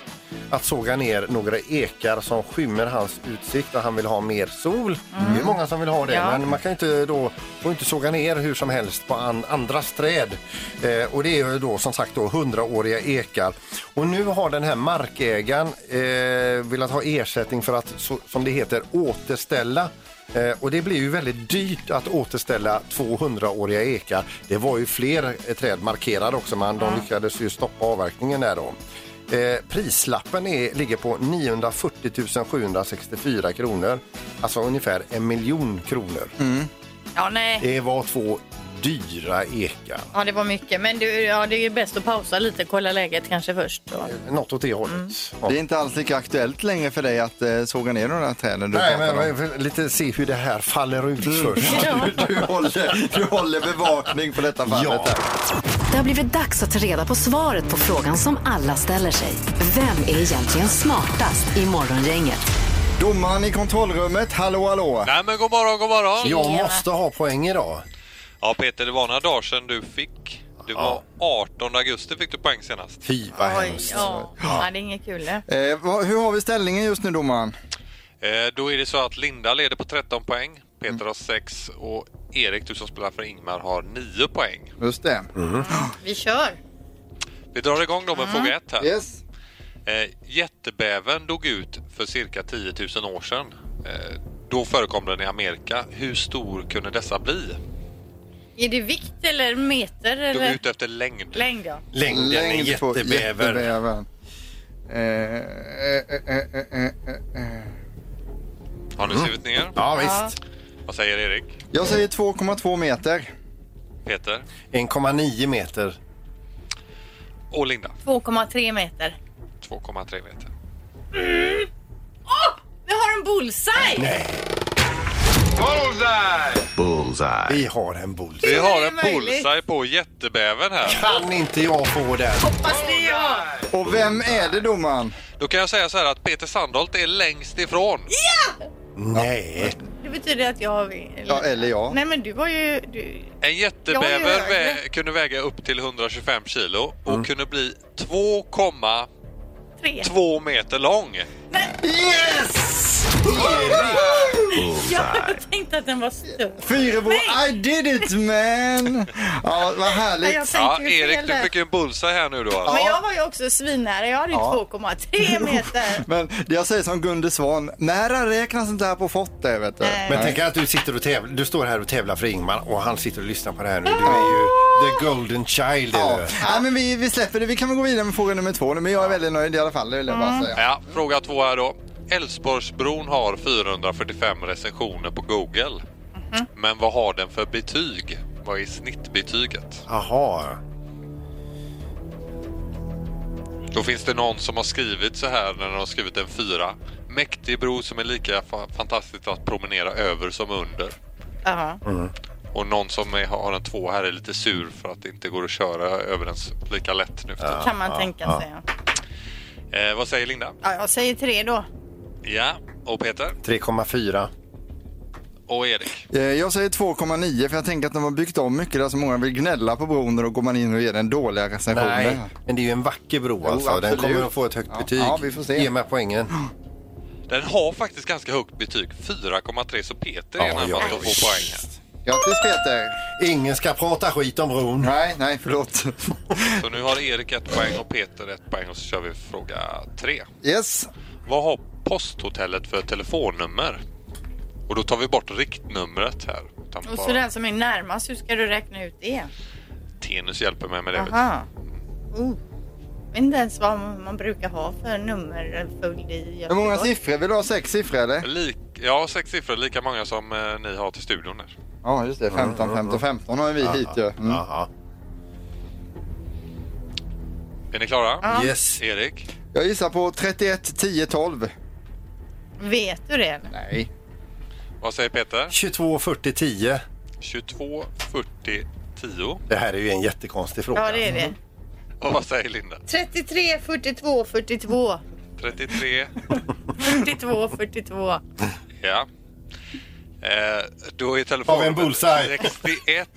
[SPEAKER 3] att såga ner några ekar som skymmer hans utsikt och han vill ha mer sol. Det är många som vill ha det
[SPEAKER 4] Ja.
[SPEAKER 3] men man kan ju inte då får inte såga ner hur som helst på an, andras träd. Eh, och det är ju då som sagt då hundraåriga ekar. Och nu har den här markägaren eh, velat ha ersättning för att, så, som det heter, återställa Eh, och det blir ju väldigt dyrt att återställa 200-åriga ekar. Det var ju fler eh, träd markerade också, men de lyckades ju stoppa avverkningen där då. Eh, prislappen är, ligger på 940 764 kronor, alltså ungefär en miljon kronor.
[SPEAKER 4] Ja, nej.
[SPEAKER 3] Det var två dyra ekar.
[SPEAKER 4] Ja, det var mycket. Men du, ja, det är ju bäst att pausa lite, kolla läget kanske först. Och...
[SPEAKER 3] Något åt det hållet. Ja.
[SPEAKER 2] Det är inte alls lika aktuellt längre för dig att eh, såga ner de där träden du
[SPEAKER 3] Nej,
[SPEAKER 2] pratar
[SPEAKER 3] men
[SPEAKER 2] om.
[SPEAKER 3] jag vill lite se hur det här faller ut först.
[SPEAKER 2] Du, du, håller, du håller bevakning på detta fallet.
[SPEAKER 3] Ja.
[SPEAKER 2] här.
[SPEAKER 1] Det har blivit dags att ta reda på svaret på frågan som alla ställer sig. Vem är egentligen smartast i Morgongänget?
[SPEAKER 2] Domaren i kontrollrummet, hallå hallå.
[SPEAKER 10] Nej men god morgon, god morgon.
[SPEAKER 3] Jag måste ha poäng idag.
[SPEAKER 10] Ja Peter, det var några dagar sedan du fick. Det var 18 augusti fick du poäng senast.
[SPEAKER 3] Fy vad
[SPEAKER 4] Oj,
[SPEAKER 3] hemskt.
[SPEAKER 4] ja. ja, det är inget kul. det.
[SPEAKER 2] Eh, vad- hur har vi ställningen just nu domaren?
[SPEAKER 10] Eh, då är det så att Linda leder på 13 poäng, Peter har 6 och Erik, du som spelar för Ingmar, har 9 poäng.
[SPEAKER 2] Just det.
[SPEAKER 3] Mm.
[SPEAKER 4] Vi kör.
[SPEAKER 10] Vi drar igång då med fråga 1 här.
[SPEAKER 2] Yes.
[SPEAKER 10] Eh, jättebäven dog ut för cirka 10 000 år sedan. Eh, då förekom den i Amerika. Hur stor kunde dessa bli?
[SPEAKER 4] Är det vikt eller meter
[SPEAKER 10] De är
[SPEAKER 4] eller
[SPEAKER 10] ute efter längd.
[SPEAKER 4] längd? Ja.
[SPEAKER 3] Längden är
[SPEAKER 2] Längd på
[SPEAKER 3] jättebäver.
[SPEAKER 2] jättebävern. Eh, eh, eh, eh, eh, eh.
[SPEAKER 10] Har ni skrivit ner?
[SPEAKER 3] Ja, visst.
[SPEAKER 10] Vad säger Erik?
[SPEAKER 2] Jag säger 2,2 meter.
[SPEAKER 10] Peter?
[SPEAKER 3] 1,9 meter.
[SPEAKER 10] Och Linda?
[SPEAKER 4] 2,3 meter.
[SPEAKER 10] 2,3 meter.
[SPEAKER 4] Vi har en bullseye!
[SPEAKER 9] Bullseye!
[SPEAKER 3] Vi har en bull.
[SPEAKER 10] Vi har en
[SPEAKER 4] det möjligt?
[SPEAKER 10] bullseye på jättebäven här.
[SPEAKER 3] Kan inte jag få den?
[SPEAKER 4] Fast det är jag.
[SPEAKER 2] Och vem är det domaren?
[SPEAKER 10] Då kan jag säga så här att Peter Sandholt är längst ifrån.
[SPEAKER 3] Nej.
[SPEAKER 4] Det betyder att jag har... Eller...
[SPEAKER 2] Ja, eller jag.
[SPEAKER 4] Nej, men du var ju... Du...
[SPEAKER 10] En
[SPEAKER 4] Jag är
[SPEAKER 10] jättebäver
[SPEAKER 4] högre.
[SPEAKER 10] vä- kunde väga upp till 125 kilo och kunde bli 2,2
[SPEAKER 4] Tre.
[SPEAKER 10] meter lång.
[SPEAKER 4] Jag tänkte att den var stor.
[SPEAKER 2] Fyrebo, I did it man! Ja, vad
[SPEAKER 4] Nej,
[SPEAKER 2] härligt.
[SPEAKER 4] jag tänkte
[SPEAKER 10] Ja,
[SPEAKER 4] ju fel
[SPEAKER 10] Erik, du
[SPEAKER 4] där.
[SPEAKER 10] fick ju en bullseye här nu då. alltså.
[SPEAKER 4] Men jag var ju också svinnära. Jag hade ju 2,3 meter.
[SPEAKER 2] Men det jag säger som Gunde Svan, nära räknas inte här på fotte vet du.
[SPEAKER 4] Nej.
[SPEAKER 3] Men tänk att du sitter och tävlar. Du står här och tävlar för Ingmar och han sitter och lyssnar på det här nu. Du är ju the golden child.
[SPEAKER 2] Ja.
[SPEAKER 3] eller?
[SPEAKER 2] Ja, men vi, vi släpper det. Vi kan väl gå vidare med fråga nummer två. nu, Men jag är väldigt nöjd i alla fall. Det vill jag
[SPEAKER 4] Mm.
[SPEAKER 2] bara säga.
[SPEAKER 10] Ja, fråga två här då. Älvsborgsbron har 445 recensioner på Google.
[SPEAKER 4] Mhm.
[SPEAKER 10] Men vad har den för betyg? Vad är snittbetyget?
[SPEAKER 3] Jaha.
[SPEAKER 10] Då finns det någon som har skrivit så här när de har skrivit en fyra. Mäktig bro som är lika fa- fantastiskt att promenera över som under.
[SPEAKER 4] Jaha.
[SPEAKER 3] Mm.
[SPEAKER 10] Och någon som är, har en två här är lite sur för att det inte går att köra över den s- lika lätt nu för tiden.
[SPEAKER 4] Kan man tänka sig. Ja.
[SPEAKER 10] eh, Vad säger Linda?
[SPEAKER 4] Ja, jag säger tre då.
[SPEAKER 10] Ja, och Peter?
[SPEAKER 3] 3,4.
[SPEAKER 10] Och Erik?
[SPEAKER 2] Eh, Jag säger 2,9 för jag tänker att de har byggt om mycket där så många vill gnälla på bron och då går man in och ger den dåliga recensioner.
[SPEAKER 3] Nej, men det är ju en vacker bro alltså. den
[SPEAKER 2] absolut.
[SPEAKER 3] kommer att få ett högt
[SPEAKER 2] Ja.
[SPEAKER 3] betyg.
[SPEAKER 2] Ja, vi får se.
[SPEAKER 3] Ge mig poängen.
[SPEAKER 10] Den har faktiskt ganska högt betyg, 4,3 så Peter är
[SPEAKER 3] Ja,
[SPEAKER 10] närmast
[SPEAKER 3] ja,
[SPEAKER 10] att få
[SPEAKER 3] visst.
[SPEAKER 10] poäng. här.
[SPEAKER 2] Grattis Peter!
[SPEAKER 3] Ingen ska prata skit om bron.
[SPEAKER 2] Nej, nej förlåt.
[SPEAKER 10] Så nu har Erik ett poäng och Peter ett poäng och så kör vi fråga tre.
[SPEAKER 2] Yes.
[SPEAKER 10] Vad har posthotellet för telefonnummer? Och då tar vi bort riktnumret här. Utan
[SPEAKER 4] Och så
[SPEAKER 10] bara,
[SPEAKER 4] den som är närmast, hur ska du räkna ut det?
[SPEAKER 10] Tenus hjälper mig med det. vet du.
[SPEAKER 4] Aha. Oh. Men inte ens vad man brukar ha för nummerföljd i
[SPEAKER 2] Hur många
[SPEAKER 4] Göteborg.
[SPEAKER 2] siffror? Vill du ha sex siffror eller?
[SPEAKER 10] Lik, lika, jag har sex siffror, lika många som eh, ni har till studion. Där.
[SPEAKER 2] Ja, just det. 15, 15, 15 har vi hit ju. Mm.
[SPEAKER 10] Är ni klara?
[SPEAKER 2] Ja. Yes.
[SPEAKER 10] Erik?
[SPEAKER 2] Jag gissar på 31, 10, 12.
[SPEAKER 4] Vet du det? eller?
[SPEAKER 2] Nej.
[SPEAKER 10] Vad säger Peter?
[SPEAKER 3] 22, 40, 10.
[SPEAKER 10] 22, 40, 10.
[SPEAKER 3] Det här är ju en jättekonstig fråga.
[SPEAKER 4] Ja, det är det.
[SPEAKER 10] Och vad säger Linda?
[SPEAKER 4] 33, 42, 42.
[SPEAKER 10] 33.
[SPEAKER 4] 42, 42.
[SPEAKER 10] Ja. Eh, då är telefonen
[SPEAKER 3] Har vi en bullseye?
[SPEAKER 10] 61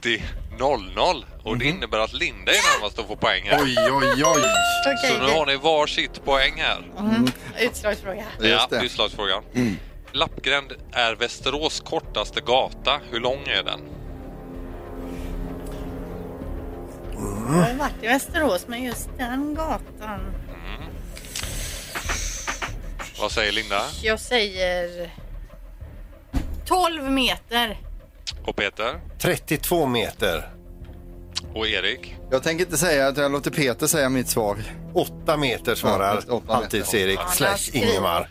[SPEAKER 10] 90 00 och
[SPEAKER 3] Mhm.
[SPEAKER 10] det innebär att Linda är närmast att få poäng här.
[SPEAKER 2] Oj, oj, oj.
[SPEAKER 4] Okej,
[SPEAKER 10] Så nu har ni var sitt poäng här.
[SPEAKER 4] utslagsfråga.
[SPEAKER 3] Mm.
[SPEAKER 10] Ja,
[SPEAKER 2] Just det. Mm.
[SPEAKER 10] utslagsfrågan. Lappgränd är Västerås kortaste gata. Hur lång är den?
[SPEAKER 4] Jag har varit i Västerås, men just den gatan.
[SPEAKER 10] Vad säger Linda
[SPEAKER 4] Jag säger 12 meter.
[SPEAKER 10] och Peter
[SPEAKER 3] 32 meter.
[SPEAKER 10] och Erik?
[SPEAKER 2] Jag tänker inte säga att jag låter Peter säga mitt svar.
[SPEAKER 3] 8 meter svarar
[SPEAKER 2] Ja, just åtta meter.
[SPEAKER 3] alltid Erik
[SPEAKER 4] Ja, där
[SPEAKER 3] slash
[SPEAKER 4] skriver-
[SPEAKER 3] Ingemar.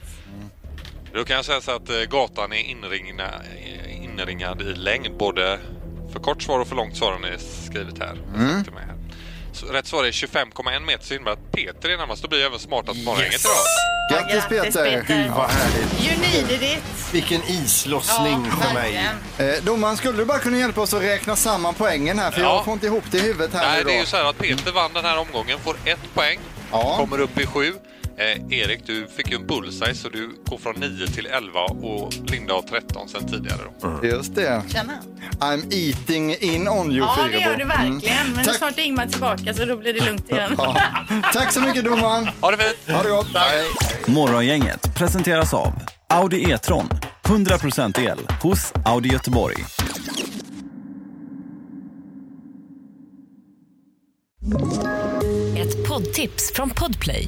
[SPEAKER 10] Då kan jag säga så att eh, gatan är inringna, eh, inringad i längd. Både för kort svar och för långt svar har ni skrivit här.
[SPEAKER 2] Mm.
[SPEAKER 10] Till mig här. Så rätt svar är 25,1 meter så innebär att Peter är närmast. Då blir jag även smartast på yes. idag.
[SPEAKER 2] Grattis
[SPEAKER 4] Ja, grattis,
[SPEAKER 2] Peter!
[SPEAKER 4] Peter.
[SPEAKER 2] Gud, vad härligt.
[SPEAKER 4] You needed it.
[SPEAKER 3] Vilken islossning för mig.
[SPEAKER 4] verkligen.
[SPEAKER 2] Eh, domaren, skulle du bara kunna hjälpa oss att räkna samman poängen här? För
[SPEAKER 10] Ja.
[SPEAKER 2] jag får inte ihop det i huvudet här
[SPEAKER 10] Nej,
[SPEAKER 2] nu
[SPEAKER 10] det är
[SPEAKER 2] då.
[SPEAKER 10] ju så här att Peter vann den här omgången, får ett poäng,
[SPEAKER 2] Ja.
[SPEAKER 10] kommer upp i sju. Eh, Erik, du fick ju en bullseye så du går från 9 till 11 och Linda har 13 sen tidigare. Då.
[SPEAKER 2] Just det.
[SPEAKER 4] Tjena.
[SPEAKER 2] I'm eating in on you,
[SPEAKER 4] Ja, det
[SPEAKER 2] Fyrebo. Mm.
[SPEAKER 4] gör du verkligen. Men
[SPEAKER 2] Tack.
[SPEAKER 4] snart är Ingmar tillbaka så då blir det lugnt igen.
[SPEAKER 2] Ja. Tack så mycket domaren!
[SPEAKER 10] Ha det fint!
[SPEAKER 2] Ha det gott! Hej.
[SPEAKER 11] Morgongänget presenteras av Audi E-tron. 100% el hos Audi Göteborg.
[SPEAKER 1] Ett poddtips från Podplay.